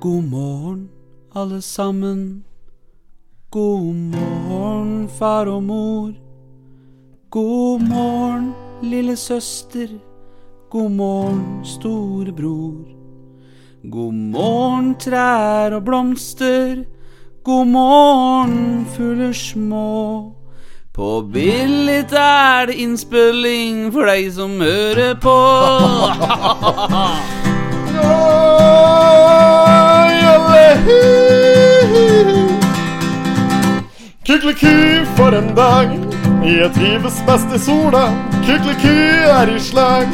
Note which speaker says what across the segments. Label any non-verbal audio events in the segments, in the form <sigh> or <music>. Speaker 1: God morgen, alle sammen. God morgen, far og mor. God morgen, lille søster. God morgen, storebror. God morgen, trær og blomster. God morgen, fugler små. På Billit er det innspilling for deg som hører på.
Speaker 2: Kykeliky, for en dag. Jeg trives best i sola. Kykeliky er i slag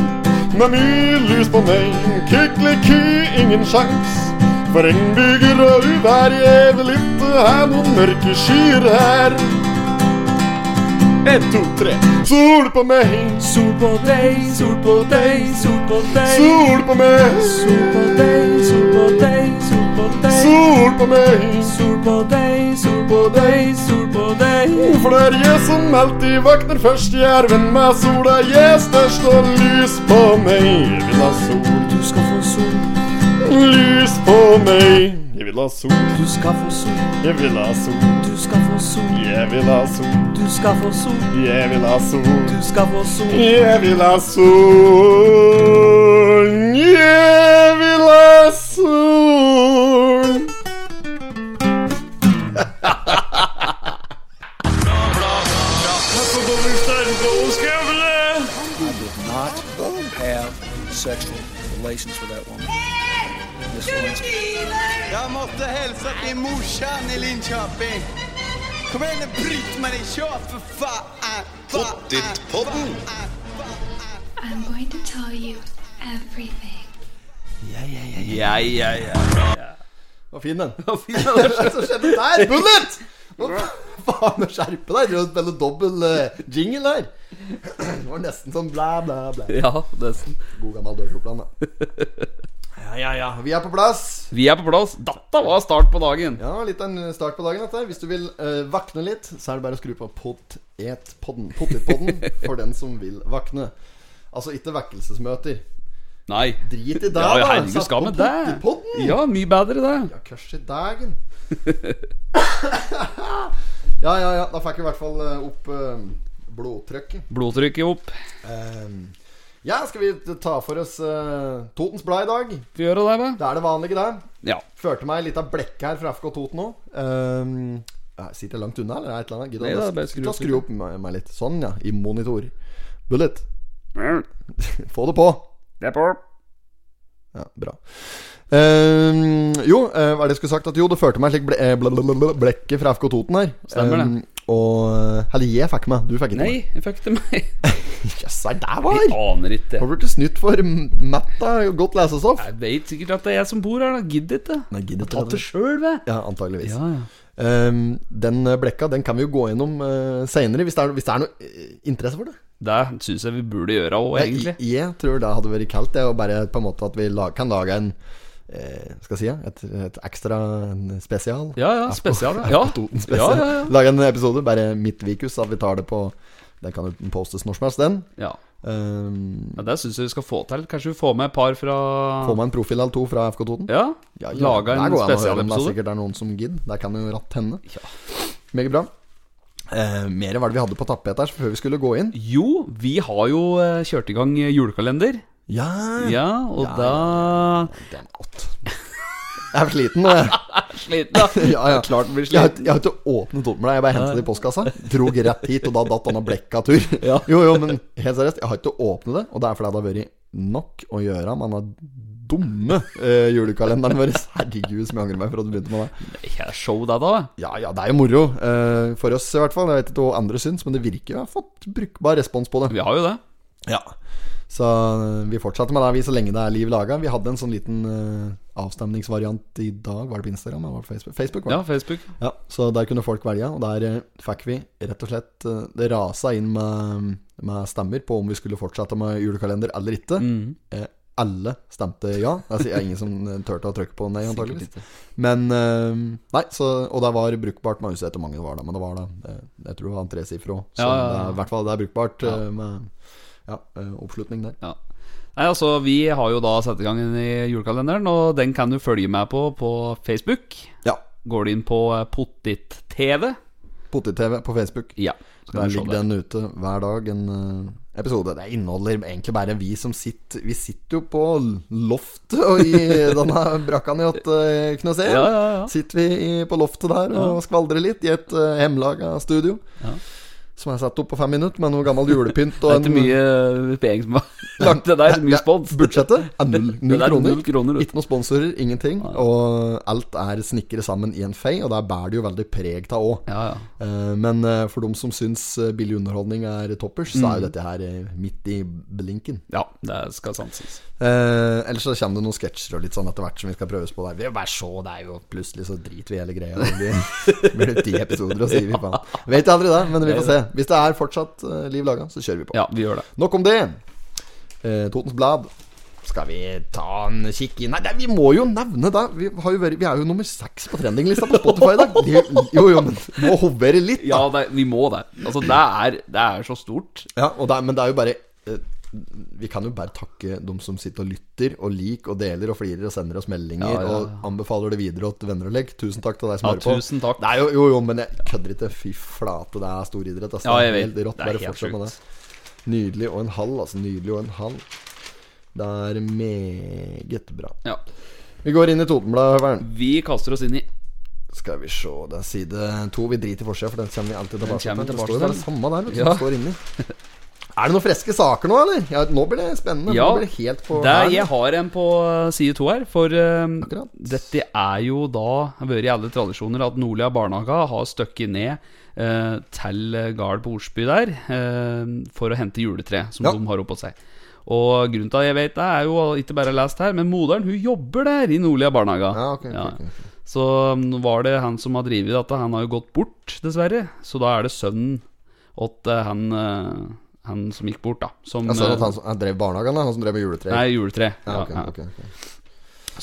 Speaker 2: med mye lys på meg. Kykeliky, ingen sjans. For regnbyger og uvær, jeg vil ikke ha noen mørke skyer her. En, to, tre. Sol på meg,
Speaker 1: <laughs> Sol på deg, sol på deg, sol på deg.
Speaker 2: sol på meg,
Speaker 1: Sol på deg, sol på deg, sol på deg.
Speaker 2: sol på meg.
Speaker 1: Sol på deg, sol på deg, sol på deg.
Speaker 2: For det er jeg som alltid våkner først. Jeg er venn med sola, jeg er størst, og lys på meg. Jeg vil ha sol,
Speaker 1: Du skal få sol,
Speaker 2: lys på meg. Jeg vil ha sol,
Speaker 1: du skal få sol,
Speaker 2: jeg vil ha sol,
Speaker 1: du skal få sol,
Speaker 2: jeg vil ha sol,
Speaker 1: du skal få sol,
Speaker 2: jeg vil ha sol.
Speaker 1: du skal få sol.
Speaker 2: Jeg vil ha sol, jeg vil ha sol.
Speaker 3: not have sexual relations with that woman. Miss Lewinsky.
Speaker 4: Jeg måtte hilse til morsan i Linköping. Kom igjen, bryt meg i kjør, for faen! Pottit-podden!
Speaker 5: I'm going to tell you everything.
Speaker 1: Ja, ja, ja.
Speaker 6: var fin, den.
Speaker 1: Hva faen?
Speaker 6: Hva som skjedde der? <laughs> Bullet! Hva faen, skjerpe deg! Du har spilt dobbel eh, jingle her. Det var nesten sånn blæ, blæ, blæ.
Speaker 1: Ja, nesten.
Speaker 6: God gammel dørkloppland, da. Ja, ja, ja. Vi er på plass.
Speaker 1: Vi er på plass. Dette var start på dagen.
Speaker 6: Ja, litt av en start på dagen dette her. Hvis du vil eh, vakne litt, så er det bare å skru på potetpodden. Potetpodden for den som vil vakne. Altså ikke vekkelsesmøter.
Speaker 1: Nei.
Speaker 6: Drit i det,
Speaker 1: Ja, ja,
Speaker 6: da.
Speaker 1: herregud, skal med det.
Speaker 6: potetpodden.
Speaker 1: Ja, mye bedre det.
Speaker 6: Ja, Kørs i dagen. <laughs> ja, ja, ja. Da fikk jeg i hvert fall eh, opp eh, blodtrykket.
Speaker 1: Blodtrykket opp.
Speaker 6: Ehm, ja, skal vi ta for oss eh, Totens Blad i dag?
Speaker 1: Vi gjør det, da.
Speaker 6: Det er det vanlige, det.
Speaker 1: Ja.
Speaker 6: Førte meg litt av blekket her fra FK Toten òg. sitter jeg langt unna, eller er det et eller annet? Gidder
Speaker 1: Nei,
Speaker 6: jeg
Speaker 1: da,
Speaker 6: å-
Speaker 1: bare skru
Speaker 6: ta
Speaker 1: opp
Speaker 6: skru opp meg, meg litt. Sånn, ja. I monitor. Bullet, få det på.
Speaker 1: Det er på.
Speaker 6: Ja, bra. Ehm, jo, eh, hva er det jeg skulle sagt? At jo, det førte meg slik ble, eh, blablabla, blekket fra FK Toten her.
Speaker 1: Stemmer det.
Speaker 6: Ehm, og Eller jeg fikk meg, du fikk ikke
Speaker 1: Nei,
Speaker 6: meg.
Speaker 1: jeg fuck til meg.
Speaker 6: <laughs> Jøss, er det
Speaker 1: Jeg
Speaker 6: var?
Speaker 1: aner ikke.
Speaker 6: Har du blitt snytt for m- Matta, godt lesestoff?
Speaker 1: Jeg vet sikkert at det er jeg som bor her, da. Gidder ikke.
Speaker 6: Nei, gidder
Speaker 1: Jeg har tatt det
Speaker 6: det.
Speaker 1: sjøl, det.
Speaker 6: Ja, antageligvis.
Speaker 1: Ja, ja.
Speaker 6: Ehm, den eh, blekka den kan vi jo gå gjennom uh, seinere, hvis, det er- hvis det er noe eh, interesse for det.
Speaker 1: Det syns jeg vi burde gjøre òg, egentlig.
Speaker 6: Jeg, jeg tror det hadde vært kaldt, det. Og bare på en måte at vi la, kan lage en eh, Skal jeg si ja, et, et ekstra en spesial.
Speaker 1: Ja, ja,
Speaker 6: <laughs>
Speaker 1: spesial. ja. Ja.
Speaker 6: Toten
Speaker 1: Ja,
Speaker 6: spesial.
Speaker 1: ja, ja.
Speaker 6: Lage en episode, bare midtvikus, at vi tar det på Den kan jo postes når som helst, den.
Speaker 1: ja.
Speaker 6: Ehm,
Speaker 1: ja det syns jeg vi skal få til. Kanskje vi får med et par fra
Speaker 6: Få meg en profil eller to fra FK Toten.
Speaker 1: Ja.
Speaker 6: Ja, ja,
Speaker 1: Laga
Speaker 6: der
Speaker 1: en
Speaker 6: går det an å høre om Det er
Speaker 1: spesialepisode.
Speaker 6: sikkert er noen som gidder. Der kan jo ratt hende.
Speaker 1: Ja.
Speaker 6: Meget bra. Eh, mer enn hva vi hadde på tapetet her før vi skulle gå inn.
Speaker 1: Jo, vi har jo eh, kjørt i gang eh, julekalender.
Speaker 6: Mm. Ja,
Speaker 1: Ja, og da
Speaker 6: Den åt. Jeg er sliten nå, jeg. <laughs>
Speaker 1: Sliten, da.
Speaker 6: Ja, ja.
Speaker 1: Klart blir
Speaker 6: Jeg har,
Speaker 1: sliten.
Speaker 6: jeg har ikke åpnet opp med deg. Jeg bare hentet det i postkassa. Drog rett hit, og da datt han av blekka tur. <laughs> Jo, jo, men helt seriøst, jeg har ikke åpnet det. Og det er fordi det har vært nok å gjøre med den dumme eh, julekalenderen vår. <laughs> Herregud, som jeg angrer meg for at du begynte med det.
Speaker 1: Jeg er show, det, da.
Speaker 6: Ja ja, det er jo moro. eh, for oss, i hvert fall. Jeg vet ikke hva andre syns, men det virker jo å ha fått brukbar respons på det.
Speaker 1: Vi har jo det.
Speaker 6: Ja Så eh, vi fortsatte med det vi så lenge det er liv laga. Vi hadde en sånn liten eh, avstemningsvariant i dag. Var det på Instagram eller var det på Facebook? Facebook var det.
Speaker 1: Ja, Facebook.
Speaker 6: Ja, så der kunne folk velge, og der eh, fikk vi rett og slett eh, Det rasa inn med, med stemmer på om vi skulle fortsette med julekalender eller
Speaker 1: Mm.
Speaker 6: ikke. Eh, alle stemte ja. Det er ingen som eh, turte å trykke på nei, antakeligvis. Men eh, Nei, så, og det var brukbart. Man husker ikke hvor mange det var da, men det var da eh, Jeg tror det var en tresifra. Så
Speaker 1: Ja, ja, ja.
Speaker 6: det er i hvert fall det er brukbart eh, med ja, eh, oppslutning der.
Speaker 1: Ja. Nei, altså, Vi har jo da satt i gang en i julekalenderen, og den kan du følge med på på Facebook.
Speaker 6: Ja.
Speaker 1: Går du inn på eh, Pottit-TV
Speaker 6: Potet-TV på Facebook.
Speaker 1: Ja. så kan
Speaker 6: Der
Speaker 1: du se
Speaker 6: ligger
Speaker 1: det.
Speaker 6: den ute hver dag, en eh, episode. Det inneholder egentlig bare vi som sitter Vi sitter jo på loftet og i
Speaker 1: <laughs>
Speaker 6: denne brakka ni åtte Knøsén.
Speaker 1: Ja, ja, ja.
Speaker 6: Sitter vi i, på loftet der og skvaldrer litt i et uh, hemmelaga studio.
Speaker 1: Ja.
Speaker 6: Som er satt opp på fem minutter med noe gammel julepynt
Speaker 1: Det
Speaker 6: og
Speaker 1: er ikke
Speaker 6: <laughs>
Speaker 1: mye eh, penger som er <laughs> lagt til
Speaker 6: Nei,
Speaker 1: deg, så mye
Speaker 6: det-
Speaker 1: spons.
Speaker 6: Budsjettet er null,
Speaker 1: Det
Speaker 6: null
Speaker 1: er
Speaker 6: kroner.
Speaker 1: null kroner, vet du.
Speaker 6: Ikke noen sponsorer, ingenting. Og alt er snikret sammen i en fei, og der bærer det jo veldig preg av òg.
Speaker 1: Ja, ja.
Speaker 6: Eh, Men eh, for dem som syns eh, billig underholdning er toppers, så er jo dette her eh, midt i blinken.
Speaker 1: ja, det skal sanses.
Speaker 6: Eh, ellers så kommer det noen sketsjer og litt sånn etter hvert som vi skal prøves på der. Vi bare se, det er jo plutselig så driter vi i hele greia. Det blir- <laughs> blir det ti episoder, og så gir vi faen. Vet aldri det, men vi får se. Hvis det er fortsatt eh, liv laga, så kjører vi på.
Speaker 1: Ja, vi gjør det.
Speaker 6: Nok om det. Eh, Totens Blad. Skal vi ta en kikk inn Nei, det- vi må jo nevne det. Vi, har jo vært, vi er jo nummer seks på trendinglista på Spotify i dag. Det- Jo, jo, men må hovere litt,
Speaker 1: Ja,
Speaker 6: da.
Speaker 1: det, vi må det. Altså, det er, det er så stort.
Speaker 6: Ja, og det, er- men det er jo bare eh, Vi kan jo bare takke de som sitter og lytter og liker og deler og flirer og sender oss meldinger
Speaker 1: Ja, ja, ja.
Speaker 6: og anbefaler det videre til venner og legg. Tusen takk til deg som
Speaker 1: Ja,
Speaker 6: hører på.
Speaker 1: tusen takk.
Speaker 6: Det er jo, jo, jo, men jeg kødder ikke. Fy flate, det er stor idrett. Altså.
Speaker 1: Ja,
Speaker 6: Det er
Speaker 1: jeg vet.
Speaker 6: Helt rått.
Speaker 1: Det er
Speaker 6: Bare
Speaker 1: helt
Speaker 6: fortsett med det.
Speaker 1: sjukt.
Speaker 6: Nydelig og en halv, altså. Nydelig og en halv. Det er meget bra.
Speaker 1: Ja.
Speaker 6: Vi går inn i Totenbladet, Høveren.
Speaker 1: Vi kaster oss inn i
Speaker 6: Skal vi se, det er side to. Vi driter i forsida, for den kommer vi alltid tilbake
Speaker 1: kommer
Speaker 6: Det
Speaker 1: tilbake
Speaker 6: står jo
Speaker 1: til.
Speaker 6: det samme der, vet du.
Speaker 1: Ja.
Speaker 6: som Står inni. Er det noen friske saker nå, eller? Ja, nå blir det spennende.
Speaker 1: Ja,
Speaker 6: Nå blir det helt på
Speaker 1: det er,
Speaker 6: hælen.
Speaker 1: jeg har en på eh, side to her. For eh,
Speaker 6: Akkurat.
Speaker 1: dette er jo da har vært i alle tradisjoner at Nordlia barnehage har støkket ned eh, til eh, gard på Osby der eh, for å hente juletre som
Speaker 6: Ja.
Speaker 1: de har oppå seg. Og grunnen til at jeg vet det, er jo ikke bare lest her, men moderen hun jobber der i Nordlia barnehage.
Speaker 6: Ja, ok, ok, ok.
Speaker 1: Så mm, var det han som har drevet dette, han har jo gått bort, dessverre. Så da er det sønnen åt eh, han, eh, han som gikk bort, da. Som,
Speaker 6: Jeg ser
Speaker 1: eh,
Speaker 6: at han, som, han drev barnehagen, da, han som drev med juletre.
Speaker 1: Nei, juletre.
Speaker 6: ja,
Speaker 1: Ja,
Speaker 6: ok,
Speaker 1: ja.
Speaker 6: ok, ok.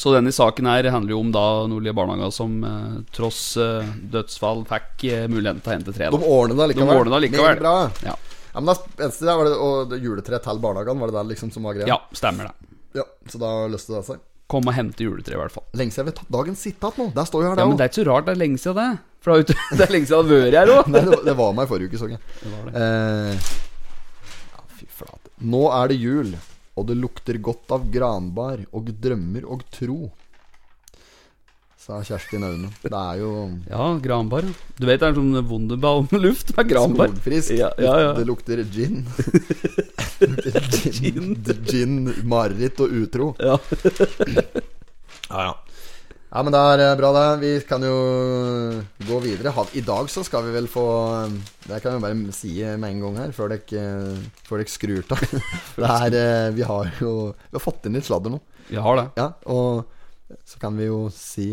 Speaker 1: Så denne saken her handler jo om da Nordlige barnehager som eh, tross eh, dødsfall fikk eh, muligheten til å hente tre.
Speaker 6: De
Speaker 1: Da.
Speaker 6: ordner det likevel.
Speaker 1: De ordner det likevel.
Speaker 6: Meget Bra.
Speaker 1: Ja.
Speaker 6: Ja, men det eneste der var det, og det juletre til barnehagen, var det der liksom som var greia?
Speaker 1: ja, stemmer det.
Speaker 6: Ja, så da løste det seg.
Speaker 1: Kom og hente juletre, i hvert fall.
Speaker 6: Lenge siden vi har tatt dagens sitat nå. Der står jo her,
Speaker 1: Ja, Men det er
Speaker 6: det òg.
Speaker 1: ikke så rart, det er lenge siden det. For det er, jo ikke- <laughs> det er lenge siden det har vært her òg.
Speaker 6: <laughs> Nei, det, det var meg i forrige uke, så jeg. Eh, ja, fy flate. Nå er det jul, og det lukter godt av granbar og drømmer og tro. Sa Kjerstin Aune. Det er jo
Speaker 1: Ja, granbar. ja. Du vet det er en sånn Wunderbaum luft med granbar.
Speaker 6: Solfrisk.
Speaker 1: Ja, ja,
Speaker 6: Det
Speaker 1: ja. <laughs>
Speaker 6: lukter gin. Det lukter gin, gin, mareritt og utro.
Speaker 1: Ja.
Speaker 6: ja, ja. Ja, men det er eh, bra, det. Vi kan jo gå videre. Ha- I dag så skal vi vel få eh, Det kan vi bare si med en gang her, før dere, eh, før dere skrur av. <laughs> Det er eh, Vi har jo Vi har fått inn litt sladder nå.
Speaker 1: Vi har det.
Speaker 6: Ja, og så kan vi jo si,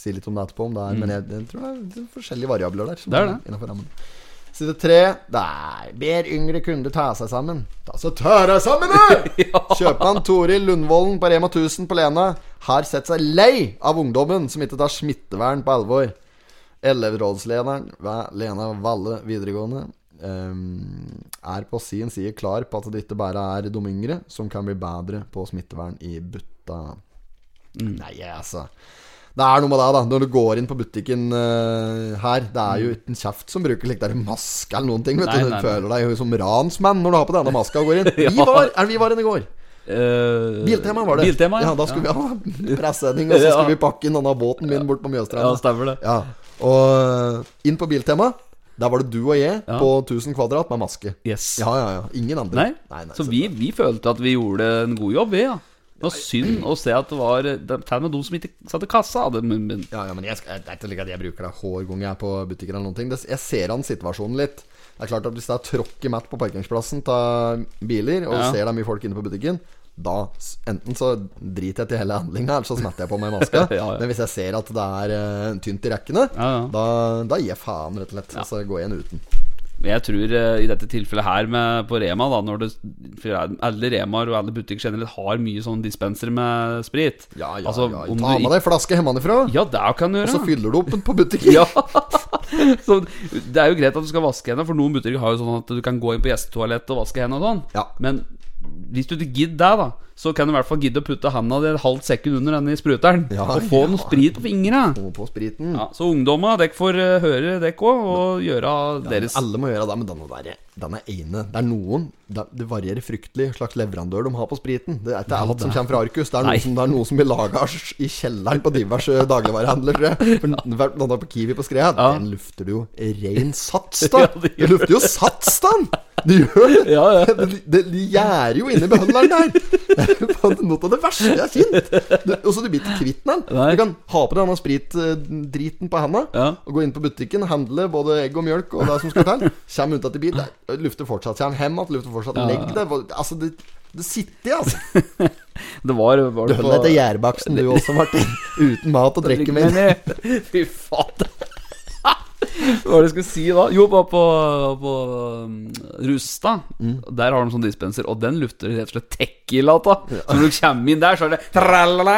Speaker 6: si litt om det etterpå, om det er, men jeg, jeg tror det er litt forskjellige variabler der.
Speaker 1: Mm.
Speaker 6: Som
Speaker 1: Det er det.
Speaker 6: innenfor rammen. Side tre. Nei, ber yngre kunde ta seg sammen. Ta så ta deg sammen, da! Kjøpmann Toril Lundvolden på Rema 1000 på Lena har sett seg lei av ungdommen som ikke tar smittevern på alvor. Elevrådslederen ved Lena Valle videregående ehm, er på sin side klar på at det ikke bare er de yngre som kan bli bedre på smittevern i butta. Nei, altså Det er noe med det, da. Når du går inn på butikken eh, her Det er jo ikke en kjeft som bruker slik der maske eller noen ting. Vet
Speaker 1: Mm. Nei,
Speaker 6: du Du
Speaker 1: nei, nei.
Speaker 6: føler deg jo som ransmann når du har på denne maska og
Speaker 1: <laughs>
Speaker 6: går inn. Vi var, er det vi var inne i går?
Speaker 1: Eh,
Speaker 6: Biltema var det.
Speaker 1: Biltema,
Speaker 6: ja.
Speaker 1: ja.
Speaker 6: Da skulle vi ha <laughs> pressending, og så skulle
Speaker 1: Ja.
Speaker 6: vi pakke inn denne båten min bort på
Speaker 1: Ja,
Speaker 6: Mjøstranda.
Speaker 1: stemmer det.
Speaker 6: Ja, og inn på Biltema Der var det du og jeg
Speaker 1: Ja.
Speaker 6: på 1000 kvadrat med maske
Speaker 1: Yes.
Speaker 6: Ja, ja, ja, ingen andre
Speaker 1: Nei. så
Speaker 6: så-
Speaker 1: vi, vi følte at vi gjorde en god jobb, vi, ja. Det var synd å se at det var det- Til og med de som ikke satt i kassa, hadde men, men,
Speaker 6: ja, ja, men jeg, skal, jeg, det er ikke slik at jeg bruker det hver gang jeg er på butikken eller noen ting det, Jeg ser an situasjonen litt Det er klart at hvis det er tråkk i matt på parkeringsplassen Ta biler, og
Speaker 1: Ja.
Speaker 6: ser det er mye folk inne på butikken da, s- enten så driter jeg til hele handlinga Eller så smetter jeg på meg maska
Speaker 1: <laughs> Ja, ja.
Speaker 6: Men hvis jeg ser at det er eh, tynt i rekkene
Speaker 1: Ja, ja.
Speaker 6: Da, da gir jeg faen rett og slett Så går jeg inn uten
Speaker 1: Jeg tror eh, i dette tilfellet her med, på Rema, da når det, for alle Remaer og alle butikker generelt har mye sånn dispenser med sprit
Speaker 6: ja, ja,
Speaker 1: Altså,
Speaker 6: ja.
Speaker 1: om
Speaker 6: Ta
Speaker 1: du
Speaker 6: med
Speaker 1: ikke-
Speaker 6: deg flaske hjemmefra
Speaker 1: Ja, det kan du
Speaker 6: Og så
Speaker 1: gjøre.
Speaker 6: fyller du opp på butikken.
Speaker 1: Ja. <laughs> så det er jo greit at du skal vaske hendene, for noen butikker har jo sånn at du kan gå inn på gjestetoalettet og vaske hendene og sånn.
Speaker 6: Ja.
Speaker 1: Men Hvis du ikke gidder det, da, så kan du i hvert fall gidde å putte handa di et halvt sekund under denne spruteren.
Speaker 6: Ja,
Speaker 1: og få
Speaker 6: ja.
Speaker 1: noe sprit på fingra.
Speaker 6: Og på spriten.
Speaker 1: Ja, så ungdomma, dere får eh, høre dere òg, og gjøre deres
Speaker 6: Alle må gjøre det, men denne der, den er ene. Det er noen Det det varierer fryktelig slags leverandør de har på spriten. Det er ikke alt som kommer fra Arkus. Det er
Speaker 1: Nei.
Speaker 6: noe som, det er noe som blir laga i kjelleren på
Speaker 1: <laughs>
Speaker 6: diverse dagligvarehandlere. For den- for Den der på Kiwi på Skrea,
Speaker 1: Ja.
Speaker 6: den lufter du jo
Speaker 1: <laughs>
Speaker 6: ren sats, da!
Speaker 1: Ja, det gjør
Speaker 6: det lufter jo sats, da! Det gjør det!
Speaker 1: Ja,
Speaker 6: <laughs>
Speaker 1: ja.
Speaker 6: Det, det, det gjærer jo inni behandleren der. <laughs> Det er jo faen noe av det verste jeg har kjent. Du- Og så du blir ikke kvitt den.
Speaker 1: Nei.
Speaker 6: Du kan ha på deg denne spritdriten eh, på handa.
Speaker 1: Ja.
Speaker 6: Og gå inn på butikken, handle både egg og mjølk og det som skal
Speaker 1: <laughs>
Speaker 6: til. Kjem ut etter bit. der. Lufter fortsatt kjem hjem igjen. Lufter fortsatt legg deg. Altså, det, det sitter, <laughs> altså.
Speaker 1: Det var, var
Speaker 6: Du
Speaker 1: det
Speaker 6: holder deg til gjærbaksten, du også, Martin. Uten mat og drikke med.
Speaker 1: eh, <laughs> Fy fader. Hva var det jeg skulle si da? Jo, bare på, på um, Rustad.
Speaker 6: Mm.
Speaker 1: Der har de sånn dispenser, og den lukter rett og slett tequila av. Så når du kommer inn der, så er det
Speaker 6: <laughs>
Speaker 1: tralala,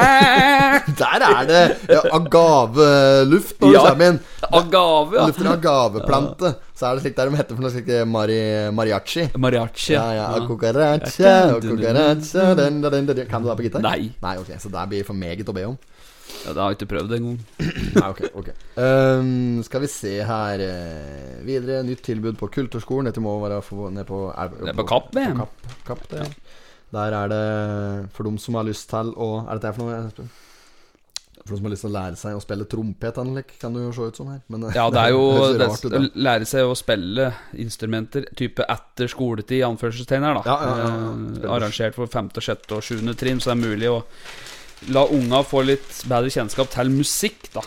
Speaker 6: <laughs> Der er det ja, agaveluft når
Speaker 1: Ja.
Speaker 6: du kommer inn.
Speaker 1: agave. Ja.
Speaker 6: Lufter agaveplante. Så er det slik der de heter for noe slikt mari, mariachi.
Speaker 1: Mariachi.
Speaker 6: Ja, ja. Cucaracha, cucaracha den, den, den, den. Kan du det på gitar?
Speaker 1: Nei.
Speaker 6: Nei, ok, Så det blir for meget å be om.
Speaker 1: Ja, det har jeg ikke prøvd engang. <laughs> Ah,
Speaker 6: Ja, ok, ok Ehm, Skal vi se her eh, Videre, nytt tilbud på kulturskolen Dette må være for, ned på er,
Speaker 1: Ned på Kapp, det.
Speaker 6: Kapp, Kapp det, ja. Der er det For dem som har lyst til å Er dette her for noe? jeg spør? For dem som har lyst til å lære seg å spille trompet Anlik, Kan det jo se ut som her men, eh,
Speaker 1: Ja, det er
Speaker 6: <laughs>
Speaker 1: jo
Speaker 6: høres
Speaker 1: det
Speaker 6: rart ut,
Speaker 1: å
Speaker 6: da.
Speaker 1: lære seg å spille instrumenter type etter skoletid, i anførselstegn her, da.
Speaker 6: Ja, ja, ja, ja.
Speaker 1: Eh,
Speaker 6: Spennende.
Speaker 1: Arrangert for femte, sjette og sjuende trinn, så det er mulig å la unga få litt bedre kjennskap til musikk, da.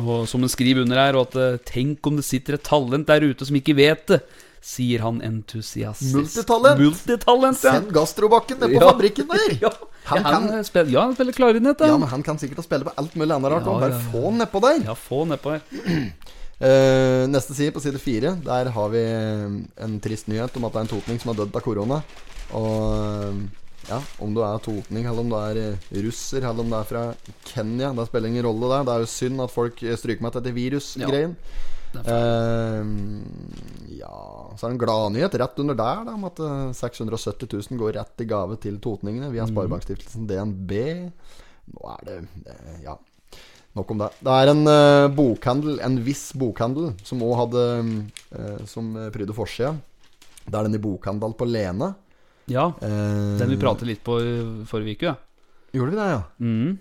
Speaker 1: Og som en skriver under her, og at eh, 'tenk om det sitter et talent der ute som ikke vet det', sier han entusiastisk.
Speaker 6: Multitalent.
Speaker 1: Multitalent, ja.
Speaker 6: Send gastrobakken ned på
Speaker 1: Ja.
Speaker 6: fabrikken der
Speaker 1: <laughs> Ja,
Speaker 6: Han
Speaker 1: han, han, eh,
Speaker 6: kan-
Speaker 1: spiller, ja, han spiller klarinett,
Speaker 6: Ja,
Speaker 1: ja.
Speaker 6: men han kan sikkert spille på alt mulig annet rart
Speaker 1: Ja,
Speaker 6: også. Bare
Speaker 1: ja, ja.
Speaker 6: få han ned på der
Speaker 1: Ja, få nedpå der.
Speaker 6: Eh, neste side, på side fire, der har vi eh, en trist nyhet om at det er en totning som har dødd av korona. Og eh, ja, om du er totning, eller om du er eh, russer, eller om du er fra Kenya, det spiller ingen rolle der. Det er jo synd at folk eh, stryker meg til dette virusgreien.
Speaker 1: det er
Speaker 6: Eh, ja Så er det en gladnyhet rett under der da, om at eh, 670 000 går rett i gave til totningene via
Speaker 1: Mm.
Speaker 6: Sparebankstiftelsen DNB. Nå er det eh, Ja. Nok om det. Det er en eh, bokhandel, en viss bokhandel, som òg hadde eh, Som eh, prydde forsida. Det er den i bokhandel på Lena.
Speaker 1: Ja,
Speaker 6: Eh,
Speaker 1: den vi pratet litt på eh, forrige uke, ja.
Speaker 6: Gjorde vi det, ja?
Speaker 1: Mm.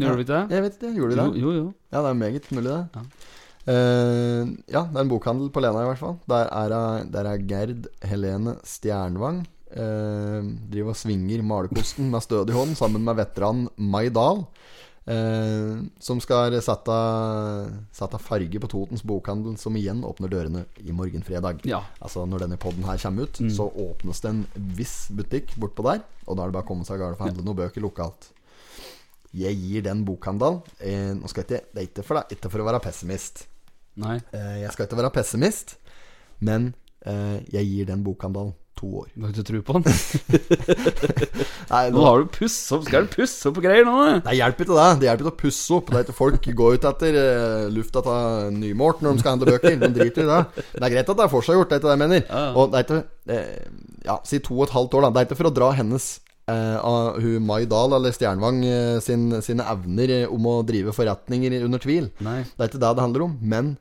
Speaker 1: Gjorde
Speaker 6: Ja.
Speaker 1: vi ikke det?
Speaker 6: Jeg vet ikke, gjorde vi
Speaker 1: Jo,
Speaker 6: det?
Speaker 1: jo, jo.
Speaker 6: Ja, det er meget mulig, det.
Speaker 1: Ja.
Speaker 6: Ja. ja, det er en bokhandel på Lena, i hvert fall. Der er, hun- der er Gerd Helene Stjernvang. eh, driver og svinger malerkosten med stødig hånd sammen med veteranen Mai Dahl. eh, som skal sette, sette farge på Totens bokhandel, som igjen åpner dørene i morgen fredag.
Speaker 1: Ja.
Speaker 6: Altså Når denne podden her kommer ut, så åpnes det en viss butikk bortpå der. Og da er det bare å komme seg av gårde og handle noen bøker lokalt. Jeg gir den bokhandelen eh, Nå skal jeg ikke, Det er ikke for, deg, ikke for å være pessimist.
Speaker 1: Nei.
Speaker 6: Eh, jeg skal ikke være pessimist, men eh, jeg gir den bokhandelen to år.
Speaker 1: Du har ikke tro på
Speaker 6: <laughs>
Speaker 1: den?
Speaker 6: Nei,
Speaker 1: Nå har du pussa opp Skal du pusse opp greier nå?
Speaker 6: <laughs>
Speaker 1: du?
Speaker 6: Det hjelper ikke det. Det hjelper ikke å pusse opp. Det er ikke folk går ut etter eh, lufta av nymålt når de skal handle bøker. De driter i det. Det er greit at det er forseggjort, det er ikke det jeg mener.
Speaker 1: Ja, ja.
Speaker 6: Og det er ikke eh, Ja, si to og et halvt år, da. Det er ikke for å dra hennes eh, av hun Mai Dahl eller Stjernvang eh, sin, sine evner eh, om å drive forretninger i- under tvil.
Speaker 1: Nei.
Speaker 6: Det er ikke det det handler om. Men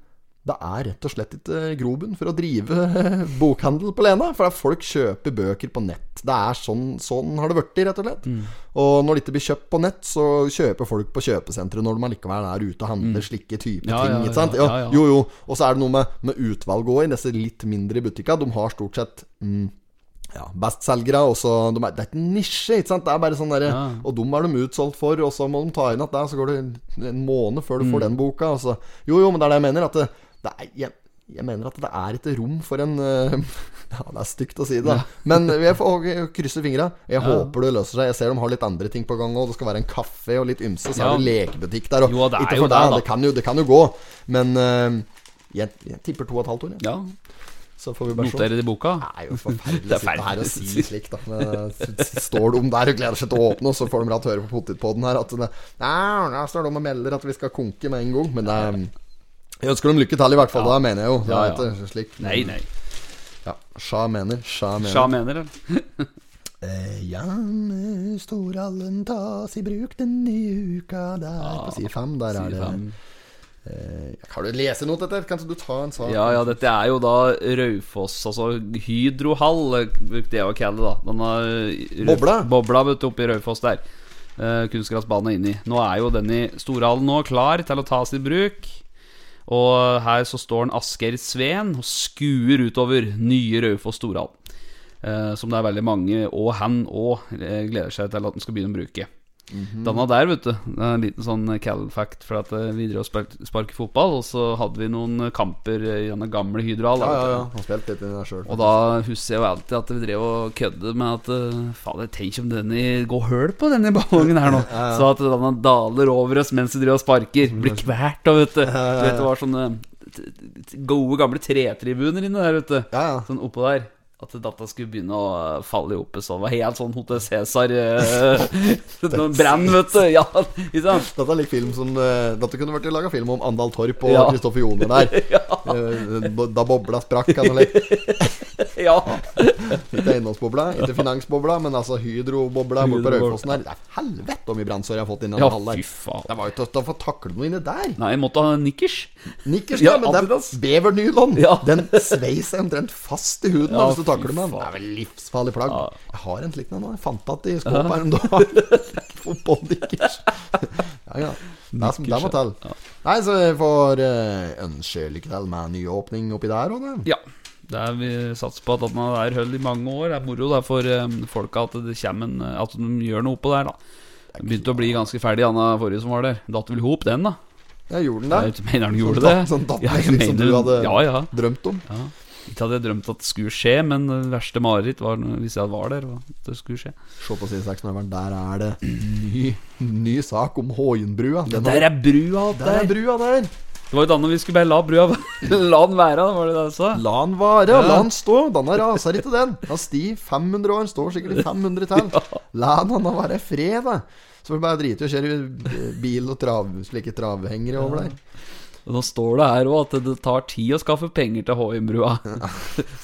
Speaker 6: det er rett og slett ikke grobunn for å drive eh, bokhandel på Lena. For det er folk kjøper bøker på nett. Det er sånn, sånn har det blitt, rett og slett.
Speaker 1: Mm.
Speaker 6: Og når det ikke blir kjøpt på nett, så kjøper folk på kjøpesentre når de allikevel er ute og handler slike typer
Speaker 1: Mm. Ja,
Speaker 6: ting.
Speaker 1: ja, ja,
Speaker 6: ikke sant?
Speaker 1: ja, ja.
Speaker 6: Jo, jo. Og så er det noe med, med utvalget òg i disse litt mindre butikkene. De har stort sett mm, ja, bestselgere. Og så de er, det er ikke en nisje, ikke sant. Det er bare sånn derre
Speaker 1: Ja.
Speaker 6: Og dem er de utsolgt for, og så må de ta inn at det, så går det en- en måned før du
Speaker 1: Mm.
Speaker 6: får den boka. Og så, jo, jo, men det er det jeg mener. At det, det er, jeg, jeg mener at det er ikke rom for en <laughs> eh, Ja, det er stygt å si det, da. Men jeg får krysse fingra. Jeg håper det løser seg. Jeg ser de har litt andre ting på gang òg. Det skal være en kafé og litt ymse, så
Speaker 1: Ja.
Speaker 6: er det lekebutikk der. Og
Speaker 1: Jo, det er
Speaker 6: ikke
Speaker 1: jo
Speaker 6: for
Speaker 1: det,
Speaker 6: deg,
Speaker 1: da.
Speaker 6: det, kan jo, det kan jo gå. Men eh, jeg, jeg tipper to og et halvt år, jeg.
Speaker 1: Ja.
Speaker 6: Så får vi bare se.
Speaker 1: Noterer det i boka?
Speaker 6: Det er jo forferdelig
Speaker 1: Det
Speaker 6: å
Speaker 1: er
Speaker 6: sitte her
Speaker 1: forferdelig
Speaker 6: og
Speaker 1: å
Speaker 6: si
Speaker 1: si.
Speaker 6: slikt, da. Men, eh, s- står de der og gleder seg til å åpne, og så får de rett høre på potetpodden her at det- Nei, nå står de og melder at vi skal konke med en gang. eh, Men det er jeg ønsker dem lykke til, i hvert fall. Da mener jeg jo. Det
Speaker 1: Ja,
Speaker 6: er
Speaker 1: ja.
Speaker 6: ikke slik.
Speaker 1: Nei, nei.
Speaker 6: Ja, Sja mener. Sja mener.
Speaker 1: Sja mener det.
Speaker 6: Eh, Jan Storhallen tas i bruk den nye uka der På side fem, der er det eh, Kan du lese noe etter? Kan ikke du ta en sak?
Speaker 1: Ja, ja, dette er jo da Raufoss, altså Hydrohall, eh, brukte jeg å kalle det. da Denne eh, Rauf-
Speaker 6: Bobla.
Speaker 1: Bobla vet du, oppe i Raufoss der. Eh, kunstgressbanen er inni. Nå er jo den i Storhallen nå klar til å tas i bruk. Og her så står en Asgeir Sveen og skuer utover nye Raufoss Storhall. Eh, som det er veldig mange, og han òg, gleder seg til at han skal begynne å bruke.
Speaker 6: Mhm.
Speaker 1: Danna der, vet du. Det er En liten sånn cal fact. For at eh, vi drev og spil- sparket fotball, og så hadde vi noen eh, kamper i denne gamle Hydral.
Speaker 6: ja, ja, ja. Han spilte litt i den sjøl.
Speaker 1: Og da husker jeg jo alltid at vi drev og kødde med at eh, Fader, tenk om denne går høl på denne ballongen her
Speaker 6: <laughs>
Speaker 1: nå. Så at denne daler over oss mens vi driver og sparker. Blir kvært og vet du. Du vet det var sånne t- t- gode, gamle tretribuner inne der, vet du.
Speaker 6: Ja, ja.
Speaker 1: Sånn oppå der. At datta skulle begynne å falle i hoppet sånn. Det var helt sånn Hotel Cæsar eh, <laughs> Noen brann, vet du. Ja, ikke sant?
Speaker 6: Dette er lik film som eh, Dette kunne vært laga film om Andal Torp og
Speaker 1: <laughs> Ja.
Speaker 6: Kristoffer Joner der. Eh, bo- Da bobla sprakk, kan du leke.
Speaker 1: Ja.
Speaker 6: Ikke eiendomsbobla, ikke finansbobla, men altså hydrobobla borte på
Speaker 1: Hydrobobla.
Speaker 6: Raufossen her. Det er helvete hvor mye brannsår jeg har fått inni
Speaker 1: ja,
Speaker 6: den
Speaker 1: fy
Speaker 6: hallen der.
Speaker 1: faen.
Speaker 6: Det var jo tøft å få takle noe inni der.
Speaker 1: Nei, jeg måtte ha nikkers.
Speaker 6: Nikkers,
Speaker 1: Ja,
Speaker 6: ja, men det
Speaker 1: Adidas.
Speaker 6: er bevernylon.
Speaker 1: Ja.
Speaker 6: Den sveis jeg omtrent fast i huden
Speaker 1: Ja,
Speaker 6: da, hvis du
Speaker 1: fy
Speaker 6: takler med den.
Speaker 1: faen.
Speaker 6: Det er vel livsfarlig plagg.
Speaker 1: Ja.
Speaker 6: Jeg har en slik en nå. Jeg fant at i skåpet her en
Speaker 1: <laughs>
Speaker 6: dag. Fotballnikkers. Ja, ja. Det er som det må til. Nei, så vi får eh, ønske lykke til med ny åpning oppi der òg, da.
Speaker 1: Ja. Det er, vi satser på at at man er høll i mange år. Det er moro det er for eh, folka at det kommer en eh, At de gjør noe oppå der, da. Den begynte å bli ganske ferdig, den der forrige som var der. Datt vel i hop, den, da.
Speaker 6: Ja, gjorde den
Speaker 1: Jeg
Speaker 6: det?
Speaker 1: vet ikke, mener han gjorde det?
Speaker 6: Sånn datt- sånn datt
Speaker 1: ja, jeg
Speaker 6: liksom som
Speaker 1: mener,
Speaker 6: du hadde-
Speaker 1: ja, ja.
Speaker 6: Drømt om.
Speaker 1: Ikke hadde jeg drømt at det skulle skje, men det verste mareritt var når- hvis jeg var der. var at Det skulle skje
Speaker 6: Se på side 6 der er det ny, ny sak om Håienbrua. Den har-
Speaker 1: Der er brua!
Speaker 6: der er brua der!
Speaker 1: Det var jo da når vi skulle bare la brua <laughs> La den være, da, var det det jeg sa?
Speaker 6: La han vare, la han stå. Den har rasa ikke, den. Han sti 500 år, står sikkert i 500 til. La han han være i fred, da. Så får vi bare drite i å kjøre bil og trav, slike travhengere over der.
Speaker 1: Og Nå står det her òg at det tar tid å skaffe penger til Håimbrua. <laughs>